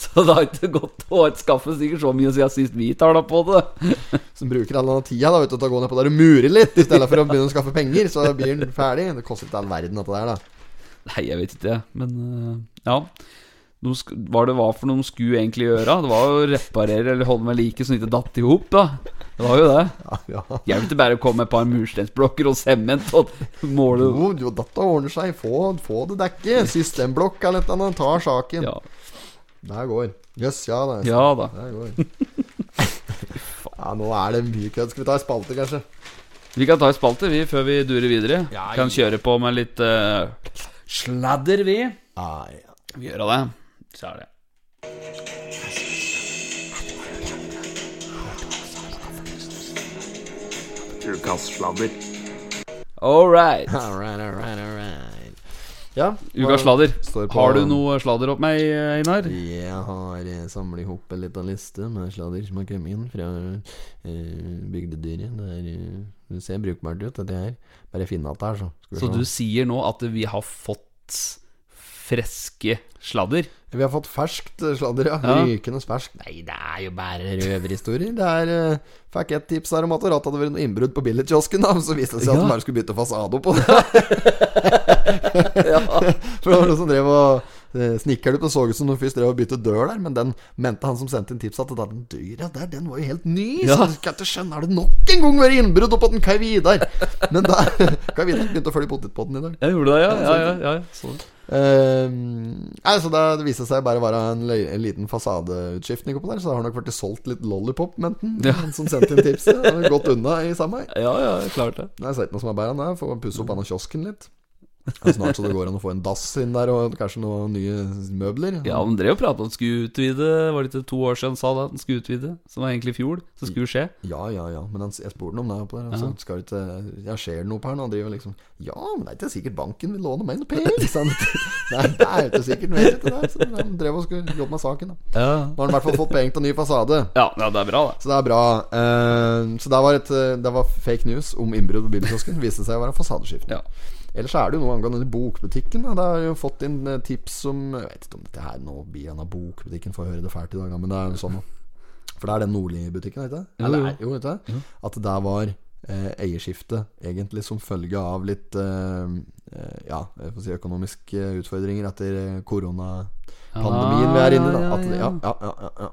Speaker 1: så det har ikke gått å skaffe sikkert så mye siden sist vi tala på det.
Speaker 6: Som bruker all den tida da, vet du, til å gå ned på der og mure litt, i stedet for å begynne å skaffe penger. Så blir den ferdig. Det koster ikke all verden, dette der, da.
Speaker 1: Nei, jeg vet ikke, men øh, ja. De sk hva det var for noe de skulle egentlig gjøre? Det var jo å reparere eller holde med like så den ikke datt i hop, da. Det var jo det.
Speaker 6: Ja, ja.
Speaker 1: Jeg vil ikke bare komme med et par mursteinsblokker og sement og måle
Speaker 6: Jo, jo, dette ordner seg. Få, få det dekket. Systemblokk eller et eller annet. Ta saken.
Speaker 1: ja.
Speaker 6: Der går. Jøss, yes, ja da.
Speaker 1: ja da.
Speaker 6: Der går. <laughs> Ja, nå er det mye kødd. Skal vi ta en spalte, kanskje?
Speaker 1: Vi kan ta en spalte, vi, før vi durer videre.
Speaker 6: Ja,
Speaker 1: Kan
Speaker 6: ja.
Speaker 1: kjøre på med litt øh, sladder, vi.
Speaker 6: Ah, ja.
Speaker 1: Vi gjør det. Så er det. All right.
Speaker 6: Alright, alright, alright. Ja,
Speaker 1: Ukas sladder.
Speaker 6: Står på-
Speaker 1: Har du noe sladder opp meg, Einar?
Speaker 6: Jeg har eh, samlet ihop en liten liste med sladder som har kommet inn fra eh, bygdedyret. Det er, eh, det ser brukbart ut, dette her. Bare finn at det er, så. Skal vi
Speaker 1: Så
Speaker 6: se.
Speaker 1: du sier nå at vi har fått freske sladder?
Speaker 6: Vi har fått ferskt eh, sladder, ja.
Speaker 1: Ja.
Speaker 6: Rykende ferskt. Nei, det er jo bare røverhistorier. Det er eh, Fikk et tips her om at det hadde vært noe innbrudd på billigkiosken, da. Så viste det seg
Speaker 1: Ja.
Speaker 6: at de bare skulle bytte
Speaker 1: <laughs>
Speaker 6: fasade på det. For det var noen som drev og eh, snikket opp og så ut som noen først drev og bytte dør der, men den mente han som sendte inn tips at da, den døra der, den var jo helt ny.
Speaker 1: Ja.
Speaker 6: Så du kan ikke skjønne, har det nok en gang vært innbrudd oppå den Kai Vidar? Men da <laughs> Kai Vidar begynte å følge potetpotten i dag.
Speaker 1: Jeg gjorde det, ja. ja, ja, ja, Sånn.
Speaker 6: Eh, nei, så det viste seg bare å være en, løy, en liten fasadeutskiftning oppå der, så det har nok vært solgt litt lollipop, menten,
Speaker 1: Ja.
Speaker 6: han som sendte inn tipset. Han har gått unna i samme hei.
Speaker 1: ja, ja klart det.
Speaker 6: Nei, jeg ser ikke noe som er bedre enn det. Få pusse opp denne kiosken litt. Det er snart så det går an å få en dass inn der, og kanskje noen nye møbler.
Speaker 1: Ja, Han drev og pratet om at han skulle utvide. Var det ikke to år siden han sa det? At han skulle utvide Som var egentlig i fjor. Så skulle det skje.
Speaker 6: Ja, ja, ja. Men han, jeg spurte han om det. oppå der altså, skal du ikke, ja, Skjer det noe på her nå? Han driver liksom Ja, men det er ikke sikkert banken vil låne meg noe penger. sa han. Nei, det er ikke sikkert. men jeg vet ikke det. Så han drev og skulle jobbe med saken. Da
Speaker 1: Ja.
Speaker 6: Nå har han i hvert fall fått penger til ny fasade.
Speaker 1: Ja, det er bra, det.
Speaker 6: Så det er bra. Eh, så det var, et, eh, det var fake news om innbrudd på bilkiosken. Viste seg å være fasadeskifte.
Speaker 1: Ja.
Speaker 6: Ellers er det jo noe angående bokbutikken. Da. Det har jeg jo fått inn eh, tips om Jeg vet ikke om dette her nå blir en av bokbutikken, får høre det fælt i dag, da, men det er jo sånn. da. For det er den Nordli-butikken, vet du?
Speaker 1: Jo,
Speaker 6: Eller,
Speaker 1: jo.
Speaker 6: er- jo, vet du? At det der var eh, eierskifte, egentlig som følge av litt eh, eh, Ja, jeg får si økonomiske utfordringer etter eh, korona pandemien vi er inne i. Da. At, Ah, ja, ja, ja, ja, ja.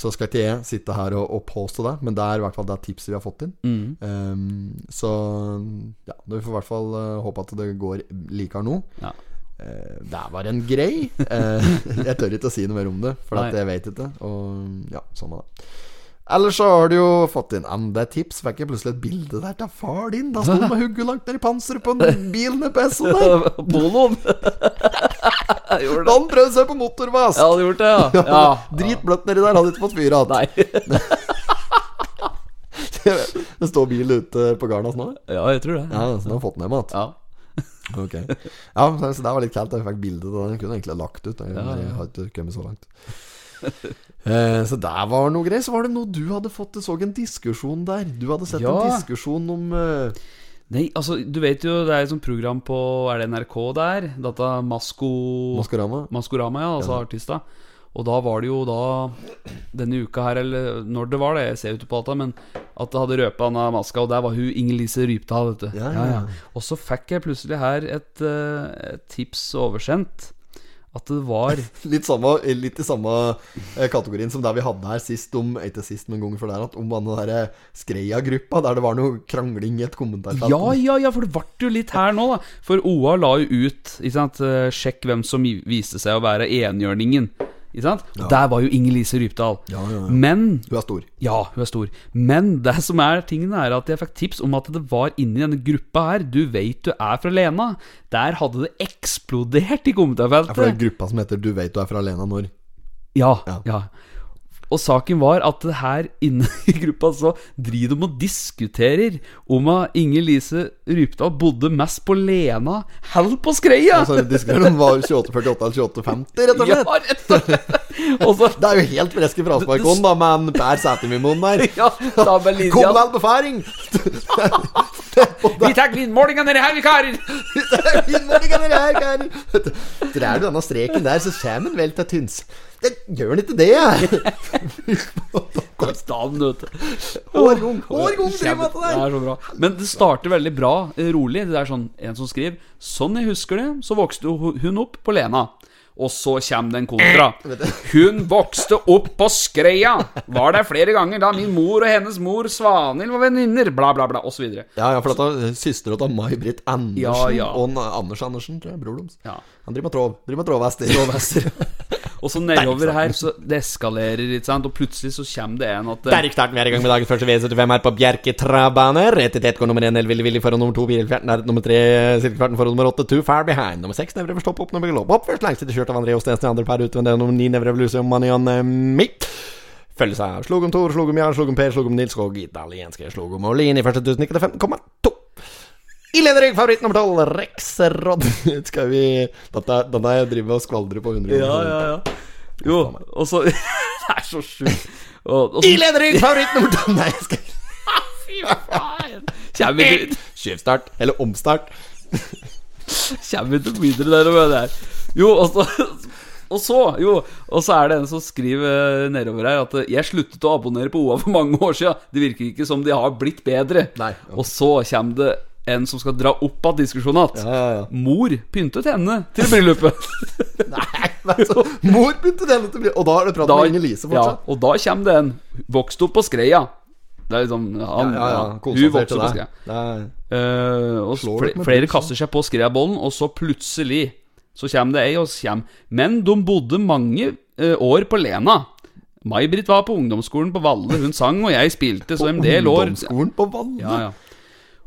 Speaker 6: Så skal ikke jeg sitte her og, og påstå det, men det er i hvert fall det tipset vi har fått inn.
Speaker 1: Mm.
Speaker 6: Ehm, så ja, vi får i hvert fall eh, håpe at det går likere nå.
Speaker 1: Ja.
Speaker 6: Eh, det var en grei. Eh, <laughs> jeg tør ikke å si noe mer om det, for at
Speaker 1: Nei.
Speaker 6: jeg vet ikke. Og ja, sånn var det. Ellers så har du jo fått inn enda et tips. Fikk jeg plutselig et bilde der til far din. Da sto han med hugget langt ned i panseret på en bil med peso der.
Speaker 1: <laughs> Poloen! Jeg gjorde
Speaker 6: Da
Speaker 1: det.
Speaker 6: han prøvde seg på motorvask. <laughs>
Speaker 1: Jeg hadde gjort det, <laughs> ja. ja.
Speaker 6: Dritbløtt nedi der, hadde ikke fått fyr igjen.
Speaker 1: Nei.
Speaker 6: <laughs> Det står bil ute på gardas nå?
Speaker 1: <laughs> Ja, jeg tror det.
Speaker 6: Ja, så den har fått den hjem igjen.
Speaker 1: Ja.
Speaker 6: Ok. Ja, så så det var litt kaldt. Jeg fikk bilde av den. Jeg kunne egentlig ha lagt ut. Jeg,
Speaker 1: Ja, ja.
Speaker 6: jeg har ikke kommet så langt. Eh, så der var noe greier. Så var det noe du hadde fått Jeg så en diskusjon der. Du hadde sett en
Speaker 1: Ja.
Speaker 6: diskusjon om eh,
Speaker 1: Nei, altså, du vet jo, det er et sånt program på Er det NRK der? Dette Masko...
Speaker 6: Maskorama.
Speaker 1: Maskorama, ja, altså artista. Og da var det jo da denne uka her, eller når det var det, jeg ser jo ikke på data, men at det hadde røpa han av maska, og der var hun Inger-Lise Rypdal, vet du.
Speaker 6: Ja, ja, ja.
Speaker 1: Og så fikk jeg plutselig her et, eh, et tips oversendt. At det var
Speaker 6: Litt, samme, litt i samme eh, kategorien som der vi hadde her sist, om eh, ikke sist, men gangen før der, at om den derre Skreia-gruppa, der det var noe krangling i et kommentarfelt.
Speaker 1: Ja, ja, ja, for det ble jo litt her nå, da. For OA la jo ut ikke sant? eh, Sjekk hvem som i- viste seg å være enhjørningen. Ikke sant? Og Der var jo Inger-Lise Rypdal.
Speaker 6: Ja, ja, ja.
Speaker 1: Men
Speaker 6: Hun er stor.
Speaker 1: Ja, hun er stor. Men det som er tingen er at jeg fikk tips om at det var inni denne gruppa her Du veit du er fra Lena. Der hadde det eksplodert i
Speaker 6: Ja, for det er
Speaker 1: kommentarfeltet.
Speaker 6: gruppa som heter 'Du veit du er fra alene når'.
Speaker 1: Ja, ja,
Speaker 6: Ja.
Speaker 1: Og saken var at det her inne <laughs> i gruppa så driver de og diskuterer om at Inger Lise Rypdal bodde mest på Lena eller på Skreia.
Speaker 6: Altså, diskuterer om var 2848 eller 2850, rett og
Speaker 1: Ja,
Speaker 6: slett.
Speaker 1: rett og slett. Og så
Speaker 6: Det er jo helt freske frasparkon, da, med en Per Sætermimoen der.
Speaker 1: <laughs> Ja, da med linja.
Speaker 6: Kom deg på <laughs> færing!
Speaker 1: Vi tar vindmålinga nedi her, vi karer!
Speaker 6: Drar du denne streken der, så kommer den vel til Tyns. Det gjør den ikke det,
Speaker 1: <laughs>
Speaker 6: jeg.
Speaker 1: Konstant, vet du.
Speaker 6: Hårgong, hårgong, driver med det
Speaker 1: Det
Speaker 6: der.
Speaker 1: er så bra. Men det starter veldig bra, eh, rolig. Det er sånn en som skriver Sånn jeg husker det, så vokste ho- hun opp på Lena. Og så kommer det en kontra. Hun vokste opp på Skreia. Var der flere ganger da min mor og hennes mor Svanhild var venninner. Bla, bla, bla, osv.
Speaker 6: Ja, ja, for dette er søstera til May-Britt Andersen
Speaker 1: Ja, ja.
Speaker 6: og en Anders Andersen, tror jeg, bror deres.
Speaker 1: Ja.
Speaker 6: Han driver med tråv. Driver med tråvhester. <laughs>
Speaker 1: Og så nedover her, så det eskalerer, ikke sant. Og plutselig så kommer det en at eh,
Speaker 7: Derk starten, vi er i gang med dagens første V75 her på Bjerke Trabaner. Etter TTK nummer 1, Elvillig Willy foran nummer 2, Bilfjerten er nummer 3, Silkekvarten foran nummer 8, Too Far Behind. Nummer 6, Nevrever Stopp Opp, Nummer Glopp Opp. Først langside kjørt av André Ostensen, i andre par ut, men det er nummer 9, Nevrever Lucium Manion Mitt. Følges av Slogom Tor, Slogom Jarl, Slogom Per, Slogom Nils og italienske Slogom Olin i første tusen, ikke til 15,2. I lederrygg, favoritt nummer 12, Rex Rod. <laughs> Skal vi Dette denne har jeg driver og skvaldrer på 100
Speaker 1: Ja, ja, ja. Jo, og så <laughs> Det er så sjukt. Og, og
Speaker 7: I
Speaker 1: så
Speaker 7: lederrygg, favoritt nummer 12 Nei, jeg skal
Speaker 1: kommer det
Speaker 7: Skyvstart, eller omstart.
Speaker 1: Kjem vi ikke videre der og der. Jo, og så og så, jo, og så er det en som skriver eh, nedover her at 'jeg sluttet å abonnere på OA for mange år siden'. Det virker ikke som de har blitt bedre.
Speaker 6: Nei.
Speaker 1: Og så kommer det en som skal dra opp av diskusjonen igjen.
Speaker 6: Ja, ja, ja.
Speaker 1: Mor pyntet henne til bryllupet. <laughs>
Speaker 6: Altså, mor begynte det å bli Og da er <laughs> det prat
Speaker 1: Da-
Speaker 6: med
Speaker 1: ja,
Speaker 6: Inger-Lise fortsatt.
Speaker 1: og da kommer det en. Vokste opp på Skreia. Det er liksom han,
Speaker 6: Ja, ja,
Speaker 1: Hun vokste opp på Skreia.
Speaker 6: Det er
Speaker 1: Eh, og
Speaker 6: Slår dere
Speaker 1: fl
Speaker 6: med
Speaker 1: flere
Speaker 6: pulsen?
Speaker 1: kaster seg på skreabollen, og så plutselig så kommer det ei og kommer Men de bodde mange eh, år på Lena. May-Britt var på ungdomsskolen på Valle, hun sang, og jeg spilte, så en del år
Speaker 6: Ungdomsskolen på Valle.
Speaker 1: ja, ja.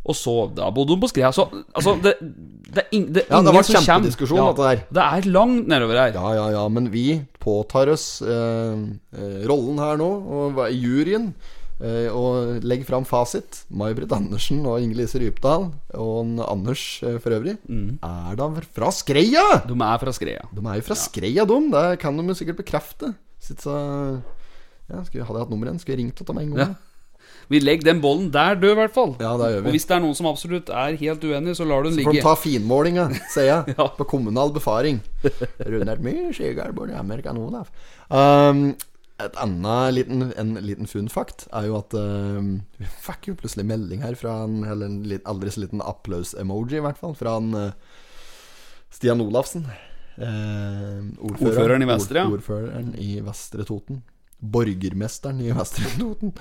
Speaker 1: Og så Da bodde hun på Skreia. Så altså Det, det, er ing, det, er
Speaker 6: Ja, det
Speaker 1: ingen
Speaker 6: var
Speaker 1: som kommer-
Speaker 6: kjempediskusjon,
Speaker 1: ja,
Speaker 6: dette her.
Speaker 1: Det er langt nedover her.
Speaker 6: Ja, ja, ja, men vi påtar oss eh, eh, rollen her nå, og hva- juryen, eh, og legger fram fasit. May-Britt Andersen og Inger-Lise Rypdal, og en Anders eh, for øvrig, er da fra Skreia!
Speaker 1: Mm. De er fra Skreia.
Speaker 6: De er jo fra Skreia, de. Det kan de jo sikkert bekrefte. Sitt så ja, skulle, hadde jeg hatt nummeret igjen, skulle jeg ringt til dem en gang.
Speaker 1: Ja. Vi legger den bollen der død, i hvert fall.
Speaker 6: Ja, det gjør
Speaker 1: Og
Speaker 6: vi.
Speaker 1: hvis det er noen som absolutt er helt uenig, så lar du den
Speaker 6: Får de
Speaker 1: ligge.
Speaker 6: ta finmålinga, sier jeg.
Speaker 1: <laughs> Ja.
Speaker 6: På kommunal befaring. Runar Myhr, Sigarbord, Amerikan Olaf. Um, et annet liten, en liten fun fact er jo at um, vi fikk jo plutselig melding her fra en, eller en litt, aldri så liten applaus-emoji, i hvert fall, fra en eh, Stian Olafsen. Eh,
Speaker 1: Ordføreren i Vestre, ja.
Speaker 6: ord- Ordføreren i Vestre Toten. Borgermesteren i Vestre
Speaker 1: <laughs>
Speaker 6: Toten.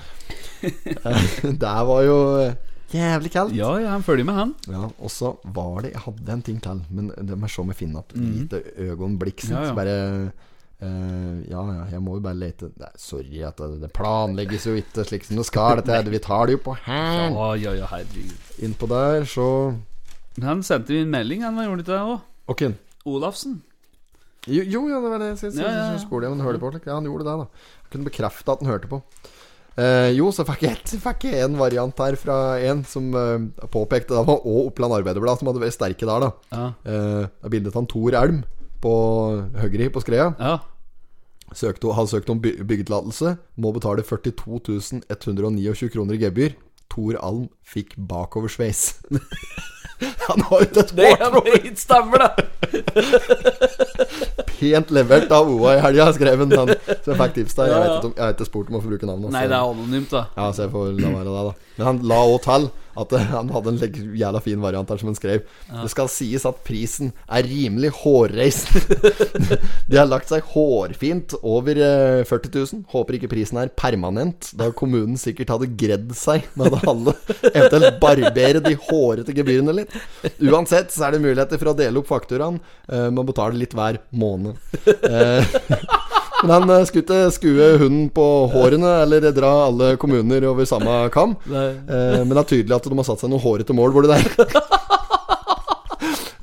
Speaker 6: Eh, Der var jo eh, jævlig kaldt.
Speaker 1: Ja, ja, han følger med, han.
Speaker 6: Ja, og så var det Jeg hadde en ting til, men det må jeg se om jeg finner igjen. Lite øyeblikk.
Speaker 1: Mhm. Ja, ja.
Speaker 6: Så bare eh, Ja, ja, jeg må jo bare lete Nei, Sorry, at det, det planlegges jo ikke slik som det skal. Dette, her, vi tar det jo på her.
Speaker 1: Ja, ja, ja, herregud.
Speaker 6: Innpå der, så
Speaker 1: Men han sendte jo en melding, han gjorde ikke det òg?
Speaker 6: Ok.
Speaker 1: Olafsen.
Speaker 6: Jo, jo, ja, det var det jeg syntes.
Speaker 1: Ja, ja, ja.
Speaker 6: Jeg skulle jeg, men hørte på slik. Ja, han gjorde det, da. Jeg kunne bekrefte at han hørte på. Eh, jo, så fikk jeg, <laughs> et- fikk jeg en variant her fra en som eh, påpekte Det var òg Oppland Arbeiderblad som hadde vært sterke der, da.
Speaker 1: Ja.
Speaker 6: Eh, Det er bildet av en Tor Elm på Høgri på Skrea.
Speaker 1: ja.
Speaker 6: Søkte, har søkt om by- byggetillatelse. Må betale 42 129 kroner i gebyr. Tor Alm fikk bakoversveis. <laughs> Han har jo et hår
Speaker 1: dritstemmer, det!
Speaker 6: pent levert av OA i helga, skrev han. han- Så jeg fikk tips der. Jeg vet ikke om- jeg har ikke spurt om å få bruke navnet.
Speaker 1: <laughs>
Speaker 6: altså.
Speaker 1: Nei, det er anonymt, da.
Speaker 6: Ja, så jeg får la være det, da. Men han la òg til at eh, han hadde en leg- jævla fin variant her som han skrev. Det skal sies at prisen er rimelig hårreisende. De har lagt seg hårfint over eh, 40 000. Håper ikke prisen er permanent, da kommunen sikkert hadde gredd seg med det halve. Eventuelt barbere de hårete gebyrene litt. Uansett så er det muligheter for å dele opp fakturaen. eh, Man betaler litt hver måned. Eh, men han eh, skulle ikke skue hunden på hårene eller dra alle kommuner over samme kam. Eh, Men det er tydelig at de har satt seg noen hårete mål hvor det der.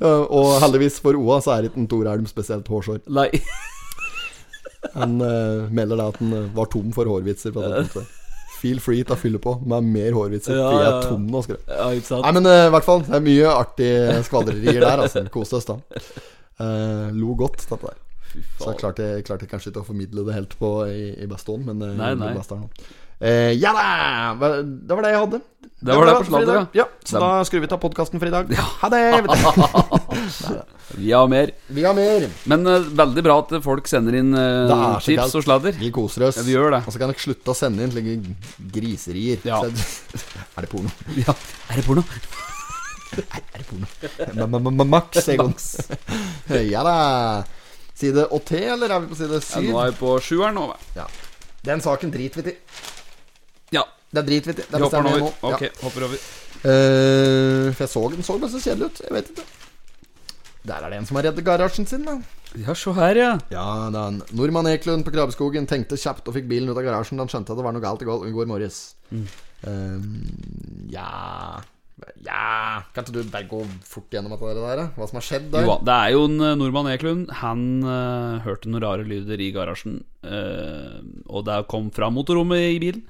Speaker 6: Eh, Og heldigvis for Oa så er ikke en Tor Elm spesielt hårsår.
Speaker 1: Nei.
Speaker 6: Han eh, melder da at han eh, var tom for hårvitser. På det punktet. Feel free til å fylle på med mer hårvitser,
Speaker 1: Ja,
Speaker 6: for jeg
Speaker 1: ja,
Speaker 6: er
Speaker 1: ja.
Speaker 6: tom nå. skrev jeg.
Speaker 1: <laughs> Ja, ikke sant?
Speaker 6: Nei, men eh, i hvert fall. Det er mye artige skvadrerier der, altså. Kos oss, da. Eh, lo godt, dette der.
Speaker 1: Fy
Speaker 6: Så jeg
Speaker 1: faen.
Speaker 6: klarte, jeg klarte kanskje ikke å formidle det helt på i, i Baston, men eh,
Speaker 1: Nei, nei.
Speaker 6: i Bastarden. Eh, ja da! Hva- Det var det jeg hadde.
Speaker 1: Det var det på
Speaker 6: for i
Speaker 1: sladder,
Speaker 6: dag.
Speaker 1: ja.
Speaker 6: ja. Så da skrur vi av podkasten for i dag. Ha det!
Speaker 1: <laughs> Vi har mer.
Speaker 6: Vi har mer.
Speaker 1: Men eh, veldig bra at folk sender inn eh,
Speaker 6: Det er så kaldt.
Speaker 1: tips og sladder.
Speaker 6: Vi koser oss.
Speaker 1: Ja, vi gjør det.
Speaker 6: Og så kan dere slutte å sende inn slike griserier.
Speaker 1: Ja.
Speaker 6: Så- <laughs> Er det porno?
Speaker 1: <laughs> Ja. Er det porno?
Speaker 6: Er det porno? M-m-m-max, Egon. ja da. Side 8, eller er vi på side
Speaker 1: Ja, nå
Speaker 6: 7?
Speaker 1: er vi på sjueren nå. vel?
Speaker 6: Ja. Den saken driter vi til.
Speaker 1: Ja.
Speaker 6: Den driter vi til. Den
Speaker 1: Vi hopper
Speaker 6: bestemmer
Speaker 1: nå
Speaker 6: jeg nå.
Speaker 1: over.
Speaker 6: Ja.
Speaker 1: Ok, hopper over.
Speaker 6: Eh, for jeg så den så bare så kjedelig ut. Jeg vet ikke. Der er det en som har reddet garasjen sin, da.
Speaker 1: Ja, se her, ja.
Speaker 6: Ja, det er en Nordmann Eklund på Krabbeskogen tenkte kjapt og fikk bilen ut av garasjen da han skjønte at det var noe galt i går, i går morges.
Speaker 1: Mm.
Speaker 6: Eh, ja Ja Kan ikke du bare gå fort gjennom dette der, da? Hva som har skjedd der?
Speaker 1: Jo, det er jo en eh, nordmann Eklund. Han eh, hørte noen rare lyder i garasjen. eh, og det kom fra motorrommet i bilen.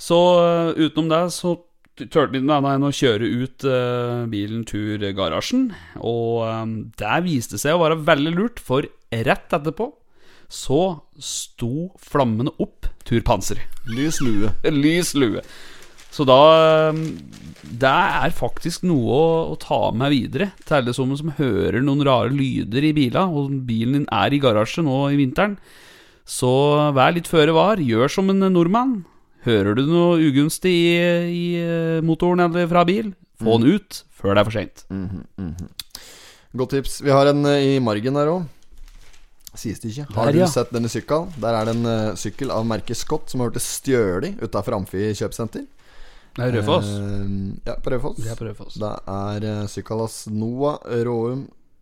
Speaker 1: Så eh, utenom det så t- turte han ikke annet enn å kjøre ut eh, bilen tur garasjen. Og eh, det viste seg å være veldig lurt, for rett etterpå så sto flammene opp tur panser.
Speaker 6: Lys lue.
Speaker 1: <laughs> Lys lue. Så da um, Det er faktisk noe å, å ta med videre til alle som, som hører noen rare lyder i biler, og bilen din er i garasje nå i vinteren. Så vær litt føre var. Gjør som en nordmann. Hører du noe ugunstig i, i eh, motoren eller fra bil, få den ut før det er for seint.
Speaker 6: Godt tips. Vi har en eh, i margen der òg. Sies det ikke. Har
Speaker 1: Der,
Speaker 6: du
Speaker 1: ja.
Speaker 6: sett denne sykkelen? Der er det en eh, sykkel av merket Scott som har blitt stjålet utafor Amfi kjøpesenter.
Speaker 1: Det er Raufoss.
Speaker 6: Eh, ja, på Raufoss.
Speaker 1: Det er på Raufoss.
Speaker 6: Det er uh, Sykalas Noah Råum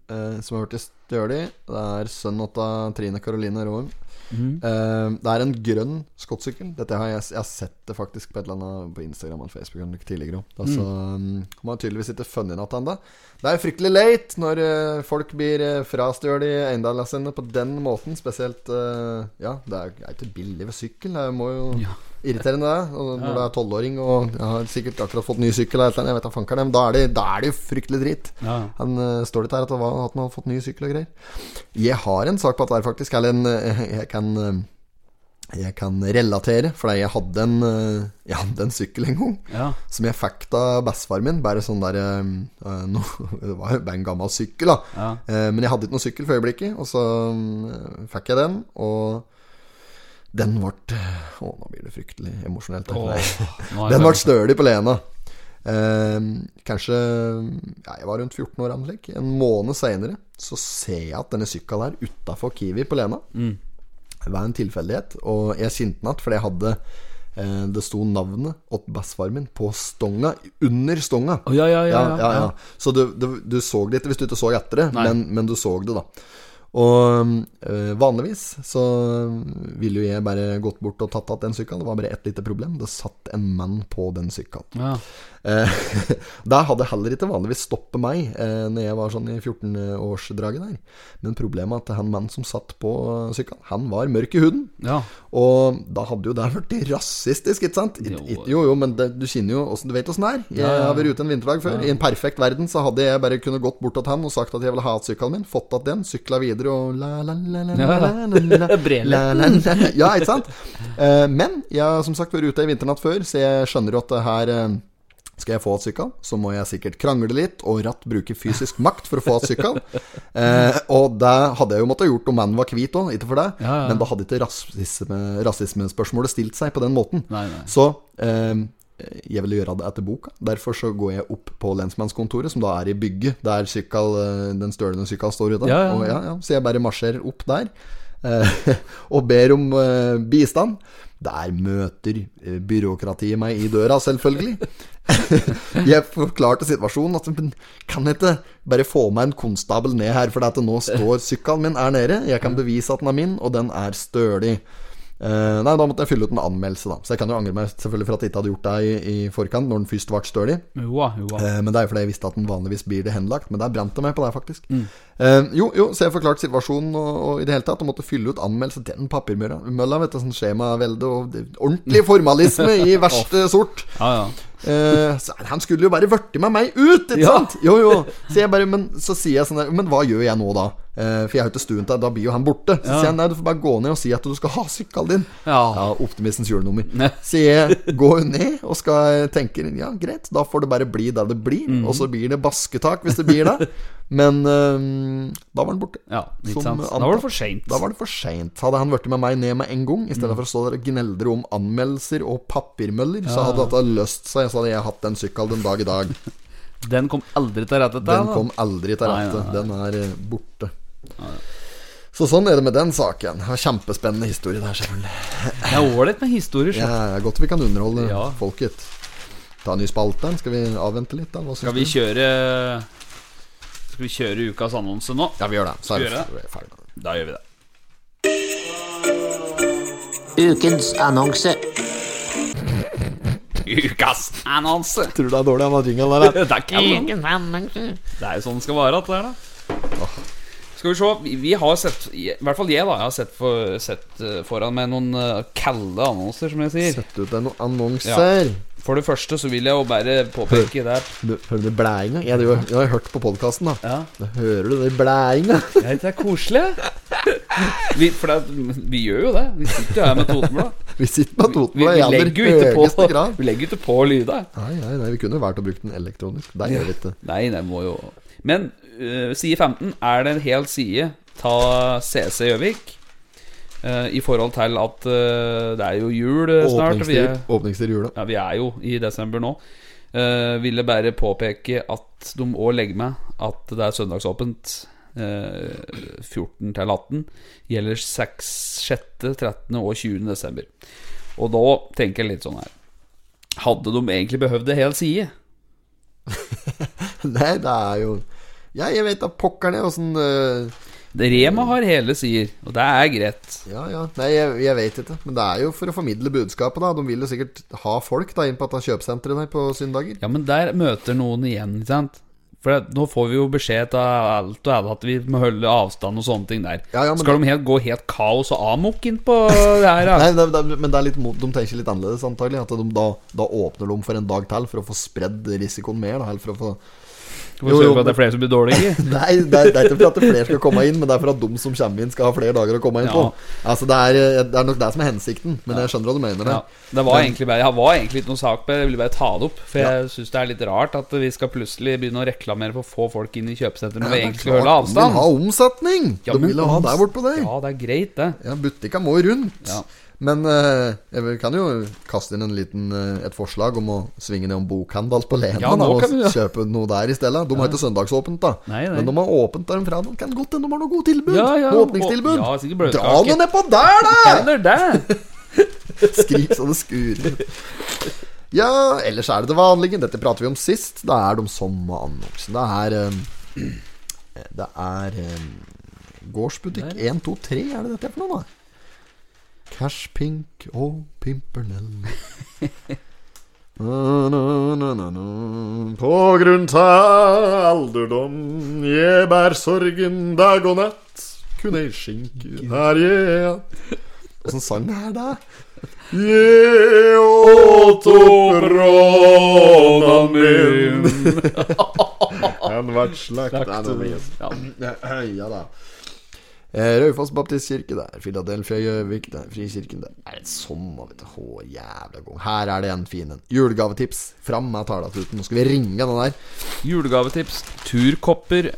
Speaker 6: eh, som har vært i Stjøli. Det er sønnen av Trine Karoline Råum. Eh, det er en grønn skottsykkel. Dette har jeg, jeg har sett det faktisk på et eller annet på Instagram og Facebook eller noe tidligere. også. Altså, mm. Man har tydeligvis ikke funnet den igjen ennå. Det er fryktelig late når eh, folk blir uh, frastjålet eiendelene sine på den måten. Spesielt eh, Ja, det er, er ikke billig ved sykkel. Det må jo
Speaker 1: Ja.
Speaker 6: Irriterende det. Og når du er tolvåring og jeg har sikkert akkurat fått ny sykkel, eller et eller annet, jeg vet da fanker det, men da er det, da er det jo fryktelig dritt.
Speaker 1: Ja.
Speaker 6: Han eh, står litt her at han var- at han har fått ny sykkel og greier. Jeg har en sak på at det er faktisk Eller en eh, Jeg kan eh, jeg kan relatere, for jeg hadde en, eh, jeg hadde en sykkel en gang
Speaker 1: Ja.
Speaker 6: som jeg fikk av bestefaren min. Bare sånn der eh, no, <laughs> Det var jo bare en gammel sykkel, da.
Speaker 1: Ja.
Speaker 6: Eh, men jeg hadde ikke noen sykkel for øyeblikket, og så mm, fikk jeg den. Og den ble eh, Å, nå blir det fryktelig emosjonelt. her.
Speaker 1: Åh, nå er jeg
Speaker 6: <laughs> den ble
Speaker 1: ferdig.
Speaker 6: stølig på Lena. Eh, kanskje ja, Jeg var rundt 14 år. Anlegg. En måned seinere så ser jeg at denne sykkelen er utafor Kiwi på Lena.
Speaker 1: Mm.
Speaker 6: Det var en tilfeldighet. Og jeg kjente den igjen fordi jeg hadde eh, Det sto navnet til bestefaren min på stonga, under stonga.
Speaker 1: Å, ja, ja, ja, ja, ja.
Speaker 6: Så du, du, du så det ikke hvis du ikke så etter det,
Speaker 1: Nei.
Speaker 6: men, men du så det, da. Og eh, vanligvis så ville jo jeg bare gått bort og tatt igjen den sykkelen. Det var bare ett lite problem. Det satt en mann på den sykkelen.
Speaker 1: Ja.
Speaker 6: Eh, <laughs> der hadde heller ikke vanligvis stoppet meg eh, Når jeg var sånn i 14-årsdraget der. Men problemet er at han mannen som satt på eh, sykkelen, han var mørk i huden.
Speaker 1: ja.
Speaker 6: Og da hadde jo det blitt rasistisk, ikke sant? It,
Speaker 1: Jo.
Speaker 6: it, jo, jo, men det, du kjenner jo åssen Du vet åssen det er. Jeg har vært ute en vinterdag før. I en perfekt verden så hadde jeg bare kunnet gått bort til han og sagt at jeg ville ha igjen sykkelen min, fått igjen den, sykla videre og la, la, la, la, la,
Speaker 1: Ja.
Speaker 6: la, la,
Speaker 1: <laughs>
Speaker 6: la,
Speaker 1: Brele.
Speaker 6: la, la, la. Ja, ikke sant? Eh, Men jeg har som sagt vært ute en vinternatt før, så jeg skjønner jo at det her eh, skal jeg få et sykkel, så må jeg sikkert krangle litt og ratt bruke fysisk makt for å få et
Speaker 1: <laughs>
Speaker 6: sykkel. Eh, og det hadde jeg jo måttet gjort om han var hvit òg, ikke for det.
Speaker 1: Ja, ja.
Speaker 6: Men da hadde ikke rasisme, rasismespørsmålet stilt seg på den måten.
Speaker 1: Nei, nei.
Speaker 6: Så eh, jeg ville gjøre det etter boka. Derfor så går jeg opp på lensmannskontoret, som da er i bygget der sykkel, eh, den stølende sykkelen står ute.
Speaker 1: Ja, ja, ja.
Speaker 6: Og, ja, ja. Så jeg bare marsjerer opp der eh, <laughs> og ber om eh, bistand. Der møter eh, byråkratiet meg i døra, selvfølgelig. <laughs> Jeg forklarte situasjonen. At men, kan jeg ikke bare få meg en konstabel ned her, for at nå står sykkelen min er nede. Jeg kan bevise at den er min, og den er stølig. Eh, nei, da måtte jeg fylle ut en anmeldelse, da. Så jeg kan jo angre meg selvfølgelig for at jeg ikke hadde gjort det i, i forkant, når den først ble stølig.
Speaker 1: Joa, joa.
Speaker 6: Eh, men det er jo fordi jeg visste at den vanligvis blir det henlagt. Men der brant det meg på det, faktisk.
Speaker 1: Mm.
Speaker 6: Eh, jo, jo, så jeg forklarte situasjonen og, og i det hele tatt. Og måtte fylle ut anmeldelse til den papirmølla, mølla, vet du. Sånn skjemavelde og det- ordentlig formalisme i
Speaker 1: <laughs>
Speaker 6: verste sort.
Speaker 1: Ja, ja.
Speaker 6: Eh, så han skulle jo bare vørte med meg ut, ikke
Speaker 1: Ja.
Speaker 6: sant? Jo, jo. Så, jeg bare, men, så sier jeg sånn der Men hva gjør jeg nå, da? Eh, for jeg har jo ikke stuen til deg, da blir jo han borte. Så
Speaker 1: Ja.
Speaker 6: sier han nei, du får bare gå ned og si at du skal ha sykkelen din.
Speaker 1: Ja.
Speaker 6: Optimistens julenummer. Så jeg går ned og skal tenke ja, greit, da får det bare bli det det blir.
Speaker 1: Mhm.
Speaker 6: Og så blir det basketak hvis det blir det. Men eh, da var han borte.
Speaker 1: ja ikke
Speaker 6: Som
Speaker 1: sant. Da var
Speaker 6: antatt.
Speaker 1: det for seint.
Speaker 6: Da var det for seint. Hadde han blitt med meg ned med en gang, i
Speaker 1: Mhm.
Speaker 6: stedet for å stå der og gneldre om anmeldelser og papirmøller, så hadde dette løst seg. Så hadde jeg hatt den sykkelen den dag i
Speaker 1: <laughs>
Speaker 6: dag.
Speaker 1: Den kom aldri til rette.
Speaker 6: Den kom aldri til
Speaker 1: Nei,
Speaker 6: rette.
Speaker 1: nei,
Speaker 6: Den er eh, borte. Så sånn er det med den saken. Det var Kjempespennende historie der, selvfølgelig.
Speaker 1: Det er ålreit med historier.
Speaker 6: Ja,
Speaker 1: skjønner du.
Speaker 6: det er godt vi kan underholde
Speaker 1: Ja.
Speaker 6: folket. Ta en ny spalte. Skal vi avvente litt, da? Hva syns
Speaker 1: Skal vi
Speaker 6: du?
Speaker 1: kjøre Skal vi kjøre ukas annonse nå?
Speaker 6: Ja, vi gjør det. Så er vi
Speaker 1: Skal vi
Speaker 6: vi er ferdig.
Speaker 1: Da gjør vi det. <laughs>
Speaker 8: Ukens annonse.
Speaker 1: Ukas annonse!
Speaker 6: Tror du det er dårlig han har jingle
Speaker 1: <laughs> Det er ikke sånn. Det er jo sånn det skal være, at det er, da. Skal vi se. vi- Vi har sett I hvert fall jeg, da. Jeg har sett, for, sett eh, foran meg noen eh, kalde annonser, som jeg sier.
Speaker 6: Sett ut deg noen annonser.
Speaker 1: For det første så vil jeg jo bare påpeke der
Speaker 6: Du, hører du blæinga? Jeg, driver- jeg har hørt på podkasten, da.
Speaker 1: Ja.
Speaker 6: Da hører du det blæinga.
Speaker 1: Ja, det er koselig. <laughs> Vi, for det, er- vi gjør jo det. Vi sitter jo her med <laughs> Totenbladet.
Speaker 6: <laughs> Vi sitter med
Speaker 1: Vi,
Speaker 6: Totenbladet
Speaker 1: vi
Speaker 6: i aller
Speaker 1: legger jo ikke
Speaker 6: høyeste
Speaker 1: på,
Speaker 6: grad.
Speaker 1: vi legger jo ikke på lyda.
Speaker 6: Nei, nei, nei, vi kunne jo valgt å bruke den elektronisk. Der gjør vi ikke
Speaker 1: Nei, det må jo Men øh, side 15 er det en hel side Ta CC Gjøvik øh, I forhold til at øh, det er jo jul øh, <laughs> snart og vi er,
Speaker 6: Åpningstid, åpningstid i jula.
Speaker 1: ja, vi er jo i desember nå uh, Ville bare påpeke at de også legger med At det er søndagsåpent øh, 14 til 18 Gjelder 6, 6, 13 og 20 desember Og da tenker jeg litt sånn her Hadde de egentlig behøvd det hel side?
Speaker 6: <laughs> Nei, det er jo Ja, jeg vet da pokker det åssen øh,
Speaker 1: Rema har hele sider, og det er greit.
Speaker 6: Ja, ja. Nei, jeg, jeg vet ikke. Men det er jo for å formidle budskapet, da. De vil jo sikkert ha folk da inn på dette kjøpesenteret der på søndager.
Speaker 1: Ja, men der møter noen igjen, ikke sant? For at nå får vi jo beskjed til alt og alle at vi må holde avstand og sånne ting der.
Speaker 6: Ja, ja, men
Speaker 1: Skal de helt gå helt kaos og amok inn på det her, da?
Speaker 6: <laughs> Nei, det, det, men det er litt, mot- de tenker litt annerledes, antagelig. At de, da, da åpner de for en dag til for å få <laughs> spredd risikoen mer. Da, eller for å få
Speaker 1: Skal vi
Speaker 6: Jo, jo,
Speaker 1: sørge for at det er
Speaker 6: men-
Speaker 1: flere som blir dårlige?
Speaker 6: Nei, det er, det er ikke for at flere skal komme inn, men det er for at de som kommer inn, skal ha flere dager å komme inn på. Altså, det er, det er nok det som er hensikten, men jeg skjønner hva du mener.
Speaker 1: <laughs> Ja,
Speaker 6: der.
Speaker 1: det var egentlig bare, jeg var egentlig ikke noe sak på det, jeg ville bare ta det opp. For jeg synes det er litt rart at vi skal plutselig begynne å reklamere for å få folk inn i kjøpesenteret når vi
Speaker 6: det er
Speaker 1: egentlig skal holde
Speaker 6: klart, De
Speaker 1: avstand.
Speaker 6: vil ha omsetning!
Speaker 1: Ja,
Speaker 6: de
Speaker 1: men
Speaker 6: vil jo ha
Speaker 1: oms-
Speaker 6: der borte på deg.
Speaker 1: Ja, det er greit, det.
Speaker 6: Ja, butikka må jo rundt.
Speaker 1: Ja.
Speaker 6: Men eh, jeg vil- kan jo kaste inn en liten, eh, et forslag om å svinge ned om bokhandel på Lena
Speaker 1: Ja,
Speaker 6: da,
Speaker 1: nå
Speaker 6: og
Speaker 1: kan vi jo-
Speaker 6: kjøpe noe der i stedet. De har ikke søndagsåpent, da.
Speaker 1: Nei, nei.
Speaker 6: Men de har åpent der om fredagen. Kan godt hende de har noe godt tilbud.
Speaker 1: Ja, ja,
Speaker 6: noe åpningstilbud.
Speaker 1: og- ja, sikkert
Speaker 6: Dra
Speaker 1: bløtkake.
Speaker 6: nå nedpå der, <laughs> da!
Speaker 1: Eller det.
Speaker 6: Skrik så det skurer. Ja, ellers er det det vanlige. Dette prater vi om sist. Da er de som annonsen. Det er eh, Det er eh, Gårdsbutikk 1, 2, 3, er det dette er for noe, da? Cash Pink og Pimpernell.
Speaker 2: Na, na, na, na, na. På grunn av alderdom jeg bær sorgen dag og natt. Kunne ei skinke her jeg att.
Speaker 6: Åssen sang er det?
Speaker 2: Jeg åt opp rånan min. Han vart slakt. Nei, nå blir det-
Speaker 6: Ja da. Eh, Raufoss Baptistkirke der, Philadelphia Gjøvik der, Frikirken der. Er det sånn, da, vet du? Å, jævla gong. Her er det en fin en. Julegavetips. Fram med talatuten. Nå skal vi
Speaker 1: <laughs>
Speaker 6: ringe den der.
Speaker 1: <laughs> Julegavetips, turkopper,